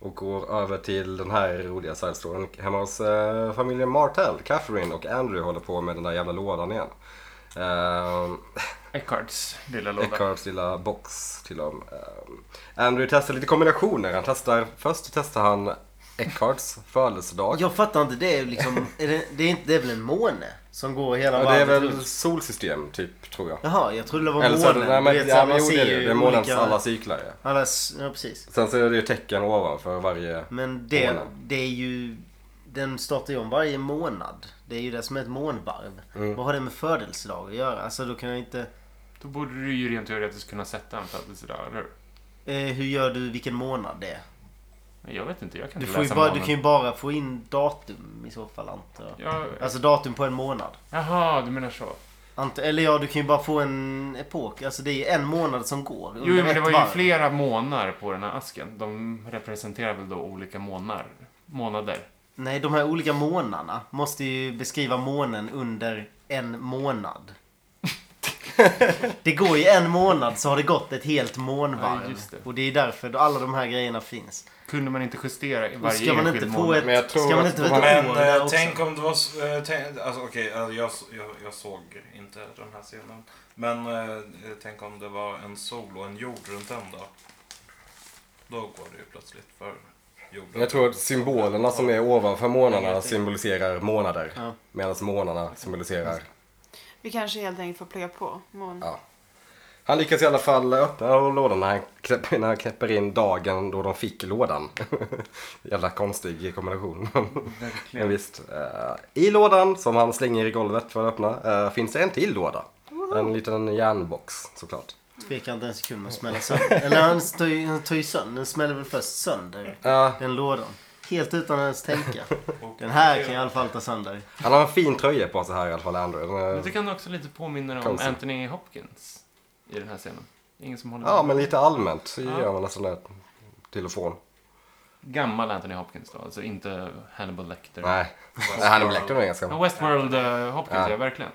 A: Och går över till den här roliga sidestoryn hemma hos eh, familjen Martell. Catherine och Andrew håller på med den där jävla lådan igen. Ehm,
C: Eckharts lilla låda.
A: Eckharts lilla box till dem. Ehm, Andrew testar lite kombinationer. Han testar, först testar han Eckharts födelsedag.
E: Jag fattar inte, det är ju liksom... Är det, det, är inte, det är väl en måne som går hela
A: Ja, det är
E: varvet
A: väl
E: runt?
A: solsystem typ tror jag.
E: Jaha, jag trodde det var
A: Eller så är det,
E: månen.
A: nej, men,
E: Du vet, så
A: ja,
E: här,
A: men
E: man
A: jo, det
E: ser
A: är
E: ju
A: ju det. Det är månens
E: olika-
A: alla cyklar ja.
E: alla s- ja, precis.
A: Sen så är det ju tecken ovanför varje...
E: Men det,
A: Månen.
E: det är ju... Den startar ju om varje månad. Det är ju det som är ett månvarv. Vad har det med födelsedag att göra? Alltså då kan jag inte...
C: Då borde du ju rent teoretiskt kunna sätta en födelsedag, eller hur?
E: Eh, hur gör du vilken månad det är?
C: Jag vet inte, jag kan
E: Du,
C: inte
E: får ju
C: läsa
E: bara, du
C: månen.
E: kan ju bara få in datum i så fall antar jag.
C: Ja,
E: Alltså datum på en månad.
C: Jaha, du menar så.
E: Ant- eller ja, du kan ju bara få en epok. Alltså det är ju en månad som går.
C: Jo,
E: under
C: men det
E: ett
C: var ju
E: varv.
C: flera månar på den här asken. De representerar väl då olika månar, månader.
E: Nej, de här olika månaderna måste ju beskriva månen under en månad. det går ju en månad så har det gått ett helt månvarv.
C: Ja, just det.
E: Och det är därför då alla de här grejerna finns.
C: Kunde man inte justera i
E: Och
C: varje
E: ska man
C: enskild
E: inte
C: månad?
E: få ett...
A: Men jag tror
E: ska man
A: att
E: inte
A: de
E: få
A: har-
E: ett
D: Men
E: år
D: eh,
E: där också?
D: tänk om det var... s- Eh, tänk, alltså okej, alltså, jag, s- jag, jag såg inte den här scenen. Men eh, tänk om det var en sol och en jord runt den då. Då går det ju plötsligt för jorden.
A: Jag tror att symbolerna som är ovanför månarna symboliserar månader.
E: Ja.
A: Medan månarna symboliserar...
B: Vi kanske helt enkelt får plugga på. Mån.
A: Ja. Han lyckas i alla fall öppna lådan när han knäpper, när han knäpper in dagen då de fick lådan. Jävla konstig kombination. Men visst. eh, I lådan som han slänger i golvet för att öppna eh, finns det en till låda. En liten järnbox såklart.
E: Tvekar inte en sekund med att smälla sönder. Eller han tar ju- han tar ju sönder. Den smäller väl först sönder.
A: Ja,
E: Den lådan. Helt utan att ens tänka.
D: Och-
E: Den här kan jag i alla fall ta sönder.
A: han har en fin tröja på sig här i alla fall, Andrew. Den
C: Jag
A: är,
C: tycker han också lite påminner om
A: Cozy.
C: Anthony Hopkins i den här scenen. Ingen som håller
A: ja,
C: med.
A: men lite allmänt så
C: Ja.
A: gör man nästan det till och från.
C: Gammal Anthony Hopkins då, alltså inte Hannibal Lecter.
A: Nej, Nej, han är väl läcker med ganska
C: Men Westworld eh, Hopkins,
A: Ja.
C: ja. verkligen.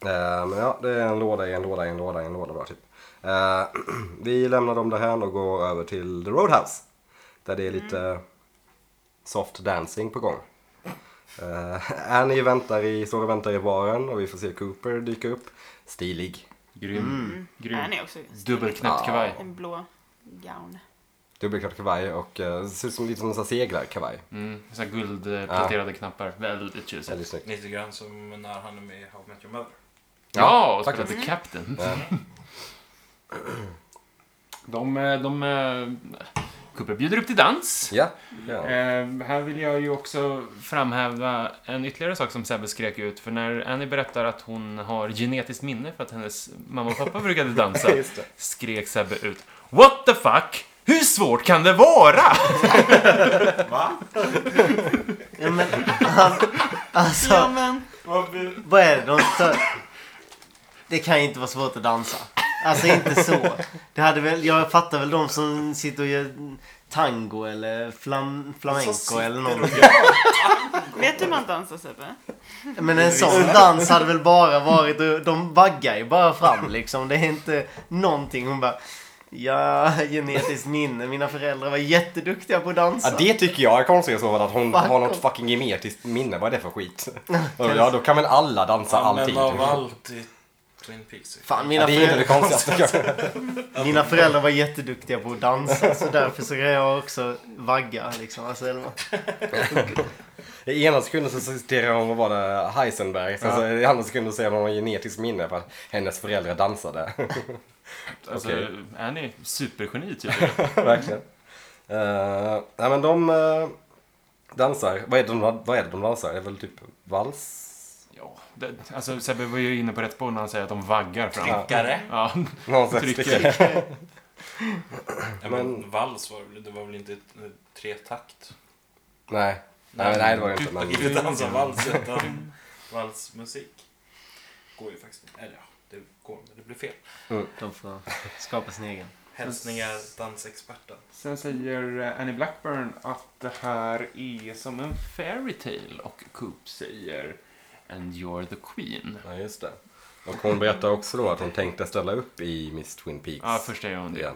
A: Eh, Men ja, det är en låda i en låda i en låda i en låda bara typ. Eh, vi lämnar dem där här och går över till The Roadhouse. Där det är lite
E: Mm.
A: soft dancing på gång. Eh, Annie väntar i, står och väntar i baren och vi får se Cooper dyka upp. Stilig.
C: Grym.
B: Den
C: Grym.
B: är också
C: Dubbelknäppt kavaj.
B: en blå gown.
A: Dubbelklart kavaj och eh, ser ut som lite som en sån här seglarkavaj.
C: Mm, så här guldpläterade knappar. Väldigt tjusigt.
A: Väldigt snyggt.
D: Lite grann som när han är med i How I Met Your Mother.
C: Ja, och
A: faktiskt.
C: spelade Captain.
A: Eh,
C: De, eh, de... eh, Cooper bjuder upp till dans.
A: Ja, ja.
C: Eh, här vill jag ju också framhäva en ytterligare sak som Sebbe skrek ut. För när Annie berättar att hon har genetiskt minne för att hennes mamma och pappa brukade dansa.
A: Just det.
C: Skrek Sebbe ut. What the fuck? Hur svårt kan det vara?
D: Va?
E: Ja, men, han, alltså,
B: Ja men,
D: Vad blir-
E: vad är det de stör? Det kan ju inte vara svårt att dansa. Alltså inte så. Det hade väl, jag fattar väl de som sitter och gör tango eller flam, flamenco eller någonting.
B: vet du hur man dansar Sebbe?
E: Men en sån dans hade väl bara varit, de vaggar ju bara fram liksom. Det är inte någonting. Hon bara, ja, genetiskt minne. Mina föräldrar var jätteduktiga på att dansa.
A: Ja, det tycker jag är konstigt i så fall att hon
E: Fuck
A: har något
E: off.
A: fucking genetiskt minne. Vad är det för skit? ja, då kan väl alla dansa alltid.
D: Men av allt i Twin Peaks.
E: Fan,
A: Ja,
E: mina
A: det är inte det
E: föräldrar,
A: konstigaste kanske.
E: mina föräldrar var jätteduktiga på att dansa. Så därför så kan jag också vagga liksom. Alltså, eller vad?
A: I ena sekunden så citerar hon, vad var det, Heisenberg. Sen så i andra sekunden säger hon att hon har genetiskt minne för att hennes föräldrar dansade.
C: Alltså,
A: Okej.
C: Annie, supergeni typ. tydligen.
A: Verkligen. Uh, nej men de eh, dansar. Vad är, det de, vad är det de dansar? Det är väl typ vals?
C: ja, det, alltså Sebbe var ju inne på rätt spår när han säger att de vaggar fram.
D: Tryckare.
C: Ja,
A: Någon slags
C: trycker.
D: Ja, men vals var det väl- det var väl inte ett, eh, tretakt?
A: Nej. Nej, nej, det var det inte. Men...
D: Typ. Inte dansa vals utan valsmusik. Går ju faktiskt inte. Eller ja, det går men det blir fel.
E: De får skapa sin egen.
D: Hälsningar dansexperten.
C: Sen säger eh, Annie Blackburn att det här är som en fairy tale och Coop säger And you're the queen.
A: Ja, just det. Och hon berättar också då att hon tänkte ställa upp i Miss Twin Peaks.
C: Ja, först är hon det.
A: igen.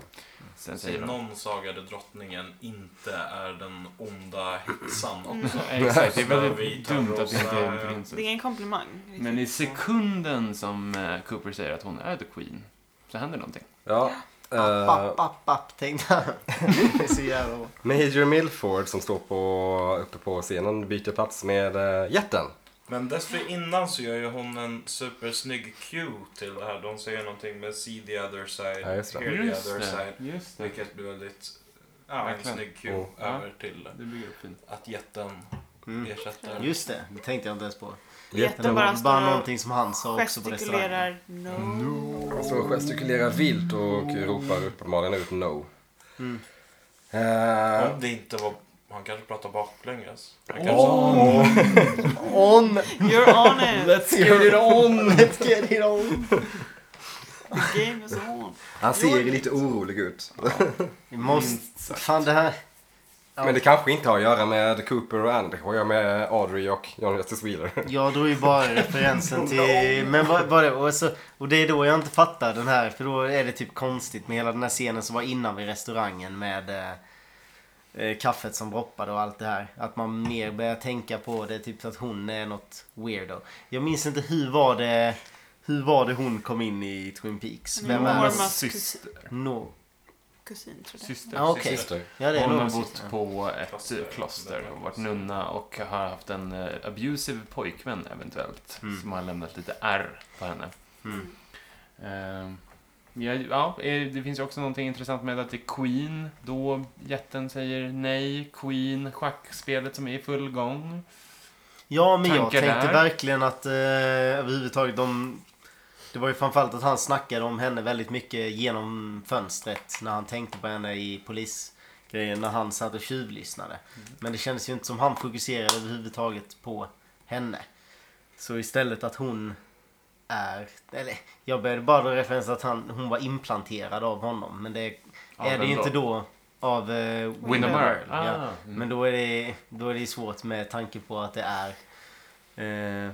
C: Sen
D: Så
C: säger hon...
D: någon sagade drottningen inte är den onda häxan
C: Mm.
D: också.
C: Exakt, det är väldigt
D: Vita,
C: dumt att det inte är en
D: rosa,
B: Det är
C: prinsessa.
B: ingen komplimang. riktigt.
C: Men i sekunden som eh, Cooper säger att hon är the queen så händer någonting.
A: Ja.
E: App,
A: eh,
E: app, app, app, tänkte han. Det är så jävla bra.
A: Major Milford som står på, uppe på scenen byter plats med uh, jätten.
D: Men dessförinnan så gör ju hon en supersnygg cue till det här. De säger någonting med see the other side,
A: Ja, just det.
D: hear the other
C: det,
D: side.
C: just det.
D: Vilket blir väldigt, ja, en
C: Verkligen.
D: snygg cue
A: Mm.
D: över till
C: Det bygger upp fint.
D: att jätten
C: Mm.
D: ersätter.
E: Just det, det tänkte jag inte ens på. Det
B: Jätten bara
E: var bara
B: står och
E: någonting som han sa också på restaurangen.
B: gestikulerar no. no.
A: Han står och gestikulerar vilt och ropar uppenbarligen ut no. Eh,
D: Om det inte var... Han kanske pratar baklänges. Han kanske
A: om...
E: On!
B: You're on it!
A: Let's get it on!
E: Let's get it on!
B: The game is on!
A: Han ser ju lite orolig ut.
E: Vi måste... Fan det här... Ja.
A: Men det kanske inte har att göra med Cooper och Andy. Det har att göra med Audrey och John Justice Wheeler.
E: Jag drog ju bara referensen till... Men vad, vad det, och, så, och det är då jag inte fattar den här. För då är det typ konstigt med hela den här scenen som var innan vid restaurangen med eh, eh, kaffet som droppade och allt det här. Att man mer börjar tänka på det. Typ att hon är något weirdo. Jag minns inte hur var det... Hur var det hon kom in i Twin Peaks? Vem är
B: Normas
E: det?
C: syster.
E: No.
B: kusin tror jag.
C: Syster.
E: Ja, okej.
C: syster.
A: Syster.
E: Ja, det är
C: Hon har
E: Normas
C: bott
E: syster.
C: på ett
D: Kloster.
C: eh, kloster och varit nunna och har haft en eh, abusive pojkvän eventuellt.
E: Mm.
C: Som har lämnat lite ärr på henne.
E: Mm.
C: Eh, Ja, ja, eh, det finns ju också någonting intressant med att det är Queen. Då jätten säger nej. Queen, schackspelet som är i full gång.
E: Ja, men jag
C: tankar
E: tänkte
C: där?
E: verkligen att eh, överhuvudtaget de... Det var ju framförallt att han snackade om henne väldigt mycket genom fönstret när han tänkte på henne i polisgrejen när han satt och tjuvlyssnade.
C: Mm.
E: Men det kändes ju inte som han fokuserade överhuvudtaget på henne. Så istället att hon är... Eller jag började bara dra referens att han, hon var implanterad av honom. Men det
C: Av
E: är det
C: vem
E: ju inte
C: då?
E: då av eh,
C: Winona Earl.
E: Ja.
C: Ah, mm.
E: Men då är, det, då är det ju svårt med tanke på att det är eh,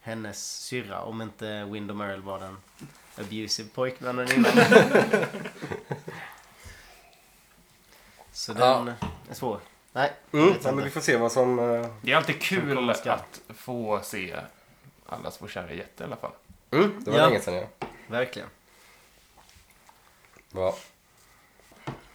E: hennes syrra. Om inte Windom Earl var den abusive pojkvännen innan. Så den är svår. Nej, jag
A: Mm,
E: vet
A: ja, men
E: inte.
A: vi får se vad som... eh,
C: Det är alltid
E: Som
C: kul
E: kommer ska.
C: att få se allas vår kära jätte i alla fall.
A: Mm, det var
E: Ja.
A: länge sedan ja.
E: Verkligen.
A: Bra.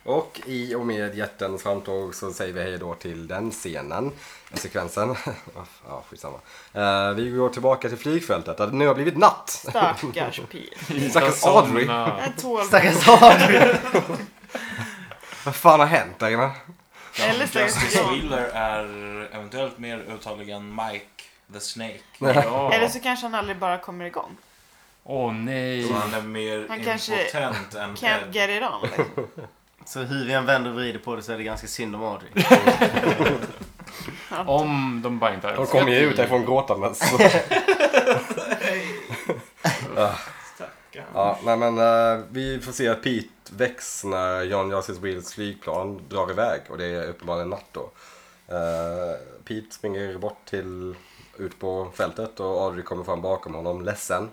A: Och i och med jättens framtåg så säger vi hej då till den scenen, den sekvensen. Ah, ja, skitsamma. Eh, vi går tillbaka till flygfältet där det nu har blivit natt.
B: Stackars Pete.
A: Stackars Audrey.
C: Såna-
B: Jag tål
E: Stackars Adrian.
A: Vad fan har hänt där inne?
B: Eller stackars
D: Justice
B: John.
D: Wheeler är eventuellt mer uttalig än Mike the Snake.
C: Ja.
B: Eller så kanske han aldrig bara kommer igång.
C: Åh nej.
D: Så han är mer
B: Han kanske-
D: impotent än
A: Eh.
B: Can't
D: Ed.
B: get it on. liksom.
E: Så hur vi än vänder och vrider på det så är det ganska synd om Adrian.
C: Om de bara inte har
A: De kom ju
C: önskat
A: ut därifrån gråtandes.
D: Stackarn.
A: Ah. ja, nej men eh, vi får se att Pete väcks när John Justice Wheels flygplan drar iväg och det är uppenbarligen natt då. Eh, Pete springer bort till, ut på fältet och Audrey kommer fram bakom honom ledsen.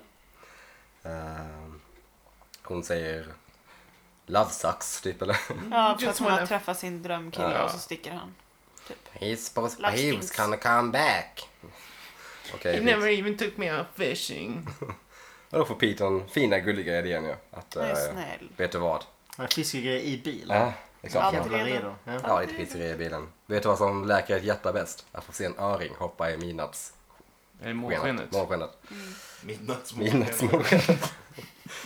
A: Eh, hon säger Love sucks, typ eller?
B: Ja, för att hon har träffat sin drömkille
A: Ja.
B: och så sticker han.
A: He's supposed
B: Love he was stinks. gonna
A: come back. Okej, Pete.
C: even took me out fishing.
A: och då får Pete den fina gulliga idén ju. Att,
B: Nej,
A: eh,
B: snäll.
A: vet du vad?
E: Han fiskegrej i bil.
A: Ja, det är klart.
B: Ja.
E: Jävla redo. Ja.
A: Ja, lite pizzeria i bilen. Vet du vad som läker ett hjärta bäst? Att få se en öring hoppa i midnattsskenet.
C: Är det månskenet?
A: Månskenet.
D: Midnattsmål.
A: Midnattsmånskenet.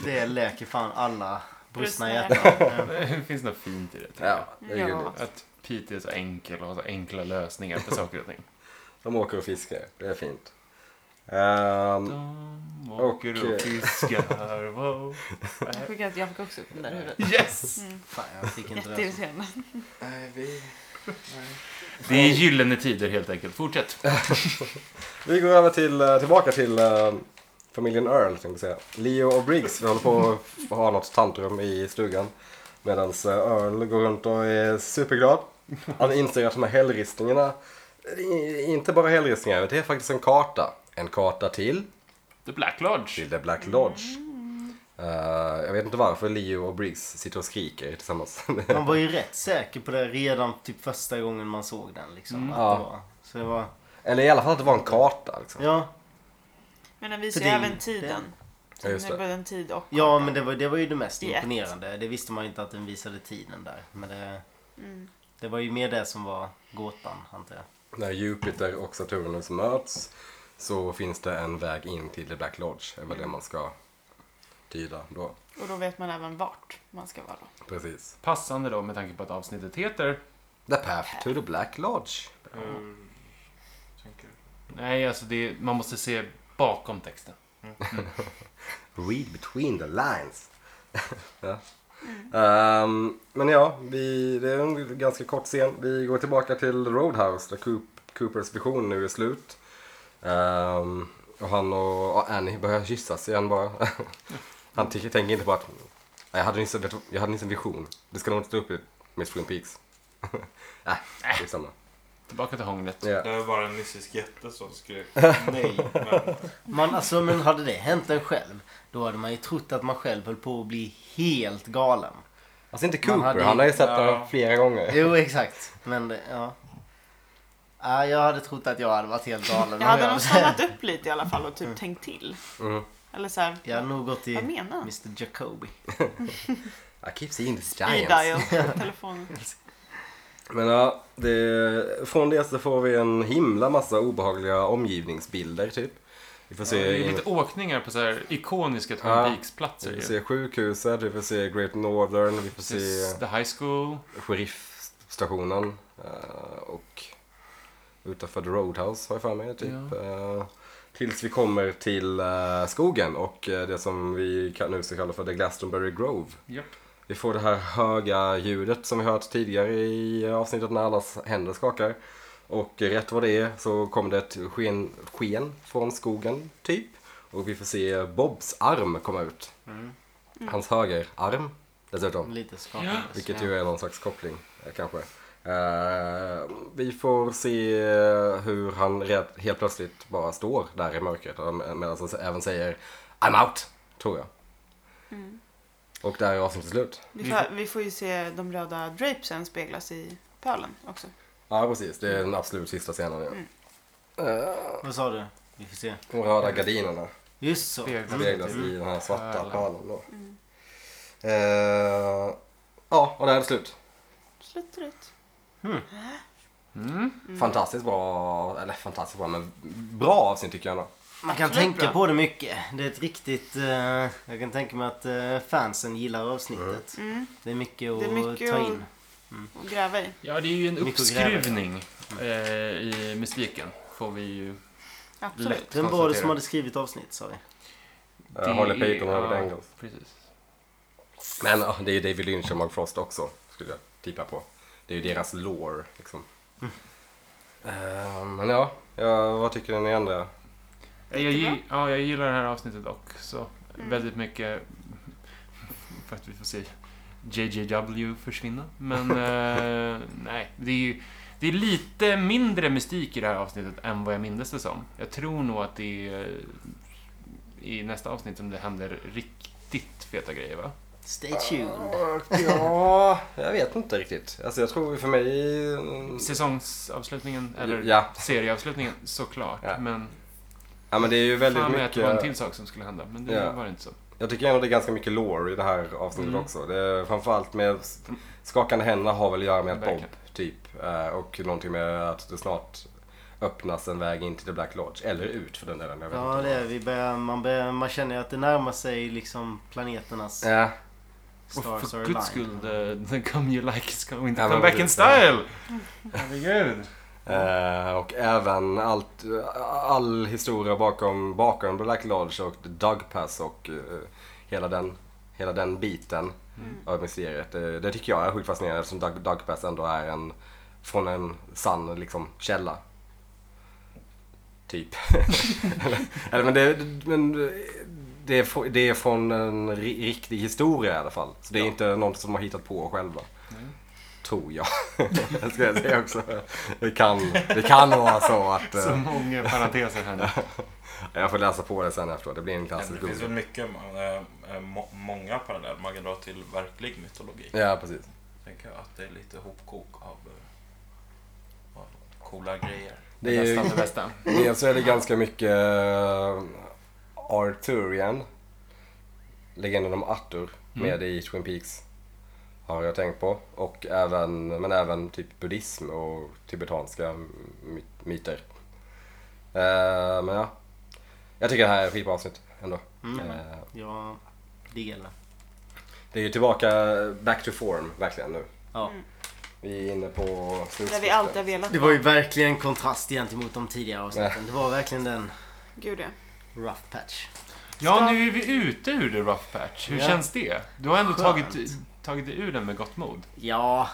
E: Det läker fan alla brustna
B: Brustna
E: hjärtan. Ja.
C: Det finns något fint i det. tycker
A: Ja,
C: jag.
A: det är
B: Ja.
A: gulligt.
C: Att Pete är så enkel och har så enkla lösningar på saker och ting.
A: De åker och fiskar. Det är fint. Ehm,
C: De
A: Och,
C: åker
A: eh,
C: och fiskar. Wow.
B: Jag fick, jag fick också upp den där i huvudet.
C: Yes!
E: Fan, jag fick inte det.
B: Jätteirriterande.
C: Det är gyllene tider helt enkelt. Fortsätt.
A: vi går över till, eh, tillbaka till eh, familjen Earl, tänkte jag säga. Leo och Briggs vi håller på att ha något tantrum i stugan. Medan Earl går runt och är superglad. Han inser att de här hällristningarna, i- inte bara hällristningar, det är faktiskt en karta. En karta till
C: The Black Lodge.
A: till The Black Lodge. Eh, jag vet inte varför Leo och Briggs sitter och skriker tillsammans.
E: Man var ju rätt säker på det redan typ första gången man såg den. Liksom,
B: Mm.
E: att
A: Ja.
E: det var. Så det var...
A: Eller i alla fall att det var en karta. Liksom.
E: Ja,
B: Men den visar
E: För
B: ju
E: det-
B: även tiden.
A: Ja, just
B: Den är
A: det.
B: både en tid och
E: ja men det var, det var ju det mest
B: I ett.
E: imponerande. Det visste man ju inte att den visade tiden där. Men det,
B: Mm.
E: det var ju mer det som var gåtan, antar jag.
A: När Jupiter och Saturnus möts så finns det en väg in till The Black Lodge. Det är väl det man ska tyda då.
B: Och då vet man även vart man ska vara då.
A: Precis.
C: Passande då med tanke på att avsnittet heter...
A: The Path to the Black Lodge.
D: Mm. Tänker.
C: Nej, alltså det är... man måste se bakom texten.
A: Read between the lines. ja. Ehm, men ja, vi, det är en ganska kort scen. Vi går tillbaka till Roadhouse där Coop, Coopers vision nu är slut. Ehm, och han och ja, Annie börjar kyssas igen bara. han tycker, tänker inte på att jag hade nyss, vet du- jag hade nyss en vision. Det ska nog inte stå upp i Miss Twin Peaks. Nej, det är samma.
C: Tillbaka till hånglet.
A: Ja.
D: Det var bara en nissisk jätte som skrek nej. Men
E: Man, alltså, men hade det hänt en själv, då hade man ju trott att man själv höll på att bli helt galen.
A: Alltså inte
E: Man
A: Cooper,
E: hade-
A: han har ju sett den
D: Ja.
A: flera gånger.
E: Jo, exakt. Men det- ja. ja. Jag hade trott att jag hade varit helt galen.
B: Jag hade nog stannat upp lite i alla fall och typ tänkt till.
A: Mm.
B: Eller såhär,
E: Jag hade nog gått till
B: vad menar han?
E: Mr Jacobi.
A: I keep seeing these giants.
B: E-dial på telefonen.
A: Men ja, det, från det så får vi en himla massa obehagliga omgivningsbilder typ. Vi får
C: Det
A: se,
C: är
A: in,
C: lite åkningar på så här ikoniska Twin
A: Ja.
C: Peaks-platser.
A: vi får
C: ju.
A: se sjukhuset, vi får se Great Northern, vi får se
C: Precis. The High School.
A: sheriffstationen eh, och utanför The Roadhouse har jag för mig typ. Eh, Tills vi kommer till eh, skogen och eh, det som vi kan, nu ska kalla för The Glastonbury Grove.
C: Japp.
A: Vi får det här höga ljudet som vi hört tidigare i avsnittet när allas händer skakar. Och rätt vad det är så kommer det ett sken, sken från skogen, typ. Och vi får se Bobs arm komma ut. Hans högerarm, dessutom.
E: Lite skakig.
C: Ja.
A: Vilket ju är någon slags koppling, eh, kanske. Eh, vi får se eh, hur han red, helt plötsligt bara står där i mörkret. och Medan han även säger I'm out, tror jag. Och där är avsnittet slut.
B: Vi får, vi får ju se de röda drapesen speglas i pölen också.
A: Ja, precis. Det är den absolut sista scenen. Ja.
E: Vad sa du? Vi får se.
A: De röda gardinerna
E: Just så. Mm.
C: Speglar.
A: speglas i den här svarta
C: Pärlan.
A: pärlan. då. Eh, ja, och där är det slut.
B: Sluttrött.
C: Mm.
A: Fantastiskt bra, eller fantastiskt bra, men bra avsnitt tycker jag ändå.
E: Man kan
B: Absolut
E: tänka
B: bra.
E: på det mycket. Det är ett riktigt... eh, jag kan tänka mig att eh, fansen gillar avsnittet.
B: Mm.
E: Det är mycket att
B: Det är mycket
E: ta
B: att-
E: in.
B: Och gräva i.
C: Ja, det är ju en
E: Mycket att gräva i.
C: uppskruvning eh, i mystiken. Får vi ju...
B: Absolut.
C: Lätt.
E: Vem var det
C: konstatera.
E: som hade skrivit avsnitt sa vi?
A: Eh, Harley Payton och Robert Engels.
C: Precis.
A: Men ja, det är ju David Lynch och Mark Frost också, skulle jag tippa på. Det är ju deras lore, liksom.
C: Mm.
A: Eh, men ja, ja, vad tycker ni andra?
C: Jag,
B: Jättebra.
C: gi- ja, jag gillar det här avsnittet också väldigt mycket. För att vi får se JJW försvinna. Men eh, nej, det är ju det är lite mindre mystik i det här avsnittet än vad jag mindes det som. Jag tror nog att det är eh, i nästa avsnitt som det händer riktigt feta grejer va?
E: Stay tuned.
A: Ja, jag vet inte riktigt. Alltså jag tror för mig...
C: Säsongsavslutningen, eller
A: Mm. Ja,
C: serieavslutningen såklart.
A: Ja.
C: Men
A: Ja men det är ju väldigt
C: fan med att det var en
A: mycket.
C: till sak som skulle hända. Men det
A: Ja.
C: var inte så.
A: Jag tycker ändå det är ganska mycket lore i det här avsnittet
C: Mm.
A: också. Det är framförallt med s- skakande händer har väl att göra med att Bob
C: Verkligen.
A: typ. eh, Och någonting med att det snart öppnas en väg in till The Black Lodge. Eller ut för den delen. Jag vet
E: Ja,
A: inte.
E: det är, vi börjar, man, börjar, man känner ju att det närmar sig liksom planeternas
A: Ja,
C: Och
E: stars
C: för
E: are
C: guds
E: aligned.
C: skull, the, the come you like is going to
A: Ja, men
C: come back in
A: precis.
C: style! Herregud.
A: eh, och även allt, all historia bakom, bakom Black Lodge och Doug Pass och eh, hela, den, hela den biten av mysteriet. Det, det tycker jag är sjukt fascinerande eftersom Doug, Doug Pass ändå är en från en sann liksom, källa. Typ. eller, eller, men det, men det, är, fr- det är från en ri- riktig historia i alla fall. Så det är inte något som de har hittat på själva. Tror jag. det ska jag säga också. Det kan, det kan vara så att...
C: Så
A: eh,
C: många parenteser här nu.
A: Jag får läsa på det sen efteråt. Det blir en klassisk
D: det finns väl
A: Google.
D: mycket, eh, eh, må, många paralleller man kan dra till verklig mytologi.
A: Ja, precis.
D: Tänker jag att det är lite hopkok av, eh, av coola grejer.
A: Det är ju-
C: Nästan det bästa.
A: Dels så är det ganska mycket eh, Arthurian. Legenden om Arthur med i Twin Peaks. Har jag tänkt på. Och även, men även typ buddhism och tibetanska my- myter. Eh, men ja. Jag tycker det här är ett skitbra avsnitt ändå. Eh,
E: Ja, diggar det.
A: det är ju tillbaka back to form verkligen nu.
E: Ja.
B: Mm.
A: Vi är inne på
B: Där
A: slutspurten.
B: vi alltid har velat.
E: Det var ju verkligen kontrast gentemot de tidigare avsnitten. Det var verkligen den
B: Gud ja.
E: rough patch.
C: Ja, nu är vi ute ur the rough patch. Hur
E: Ja.
C: känns det? Du har ändå
E: Skönt.
C: tagit tagit dig ur den med gott mod?
E: Ja,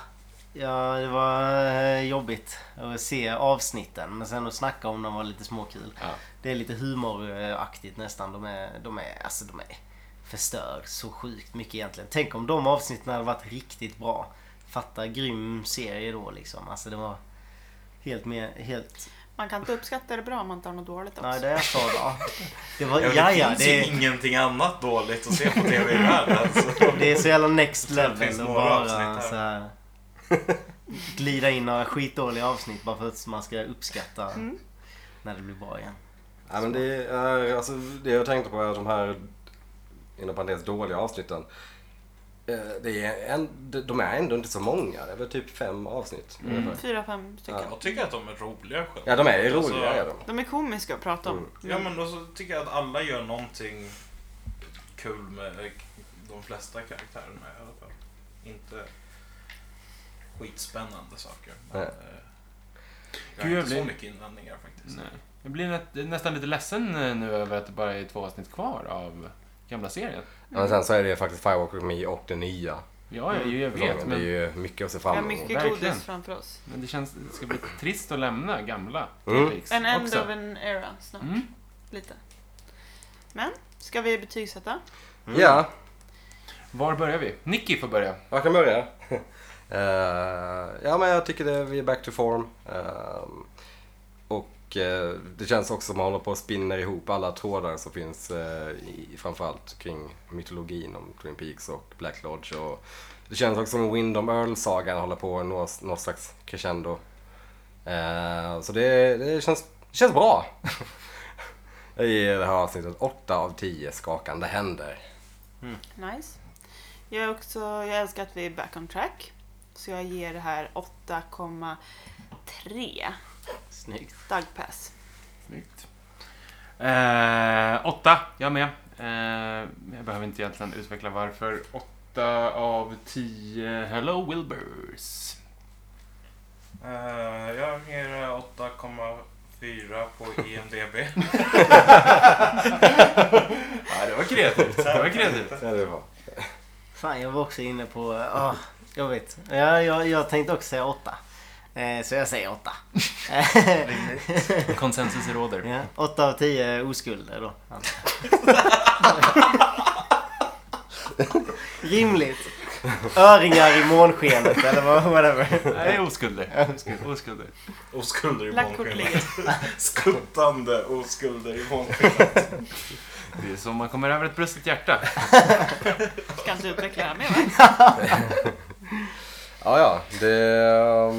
E: ja det var eh, jobbigt att se avsnitten. Men sen att snacka om dem var lite småkul.
C: Ja.
E: Det är lite humoraktigt nästan. De är, de är, alltså de är förstör så sjukt mycket egentligen. Tänk om de avsnitten hade varit riktigt bra. Fatta grym serie då liksom. Alltså det var helt mer, helt...
B: Man kan inte uppskatta det bra om man inte har något dåligt också.
E: Nej, det är jag sa då. Det var,
D: Ja, det
E: ja, ja,
D: finns
E: det
D: ju
E: är,
D: ingenting annat dåligt att se på TV i världen. Alltså.
E: det är så jävla next
D: Det finns
E: level att
D: några
E: bara
D: avsnitt här.
E: så här, glida in några skitdåliga avsnitt bara för att man ska uppskatta när det blir bra igen.
A: Ja, men det, är, alltså, det jag tänkte på är de här, inom parentes, dåliga avsnitten. Eh, Det är en, de är ändå inte så många. Det är väl typ fem avsnitt. ungefär.
B: Fyra, fem stycken.
A: Ja.
D: Jag tycker att de är roliga skämt.
A: Ja, de är ju
D: Alltså,
A: roliga. Är de.
B: De är komiska att prata om.
A: Mm.
D: Ja, men då så tycker jag att alla gör någonting kul med eh, de flesta karaktärerna i alla fall. Inte skitspännande saker. Men,
A: Nej.
D: eh, jag har
C: Gud, jag
D: inte så
C: blir-
D: mycket invändningar faktiskt.
C: Nej. Jag blir nä- nästan lite ledsen eh, nu över att det bara är två avsnitt kvar av gamla serien.
A: Ja, Men sen så är det ju faktiskt Firewalk with me och den nya.
C: Mm. Ja, jag, jag vet,
A: säsongen. Det är
C: men,
A: ju mycket att se
B: Vi
A: fram
B: har
A: emot.
B: mycket
C: verkligen.
B: godis framför oss.
C: men det känns det ska bli trist att lämna gamla
A: Mm.
C: Twin Peaks
B: En end
C: också.
B: of an era snart.
C: Mm.
B: Lite. Men, ska vi betygsätta?
A: Ja,
C: Var börjar vi? Nicky får börja.
A: Jag kan börja. Eh, ja, men jag tycker det, vi är back to form. Ehm, och eh, det känns också som man håller på och spinner ihop alla trådar som finns eh, i, framförallt kring mytologin om Twin Peaks och Black Lodge. Och det känns också som Windom Earl-sagan håller på att nå någon slags crescendo. Eh, så det, det, känns, det känns bra. jag ger det här avsnittet 8 av 10 skakande händer.
B: Nice. Jag, är också, jag älskar att vi är back on track. Så jag ger det här 8,3
E: Snyggt.
B: Dagpass.
C: Snyggt. Eh, åtta, jag med. Eh, jag behöver inte egentligen utveckla varför. Åtta av tio Hello Wilburs.
D: Eh, jag ger eh, 8,4 på IMDB.
C: Ja, det var kreativt. Det var kreativt.
A: Ja, det är bra.
E: Fan, jag var också inne på... ah, jag vet. Ja, jag, jag tänkte också säga åtta. Eh, så jag säger åtta.
C: Konsensus råder.
E: ja, åtta av tio oskulder då. Rimligt. Öringar i månskenet eller vad- whatever.
C: Nej, oskulder. Oskulder.
D: Oskulder i
B: Lackkort
D: månskenet.
B: ligger.
D: Skuttande oskulder i månskenet.
C: Det är som man kommer över ett brustet hjärta.
B: Ska inte utveckla det här mer va?
A: Ja, ja, det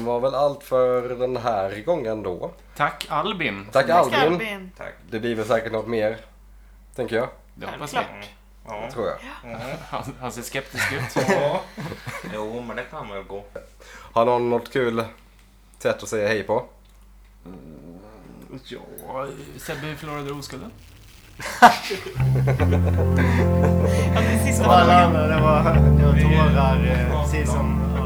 A: var väl allt för den här gången då.
C: Tack Albin.
A: Tack Albin.
B: Albin.
D: Tack.
A: Det blir väl säkert något mer, tänker jag.
C: Det hoppas vi.
B: Självklart.
D: Mm. Ja.
A: Tror jag.
D: Mhm.
C: Han, han ser skeptisk ut.
D: Ja. Jo, men det kan väl gå.
A: Har någon något kul sätt att säga hej på?
C: Ja, Sebbe förlorade oskulden.
B: Ja, det är sista
E: Alla
B: dagen.
E: andra, det var, det var tårar eh, precis som...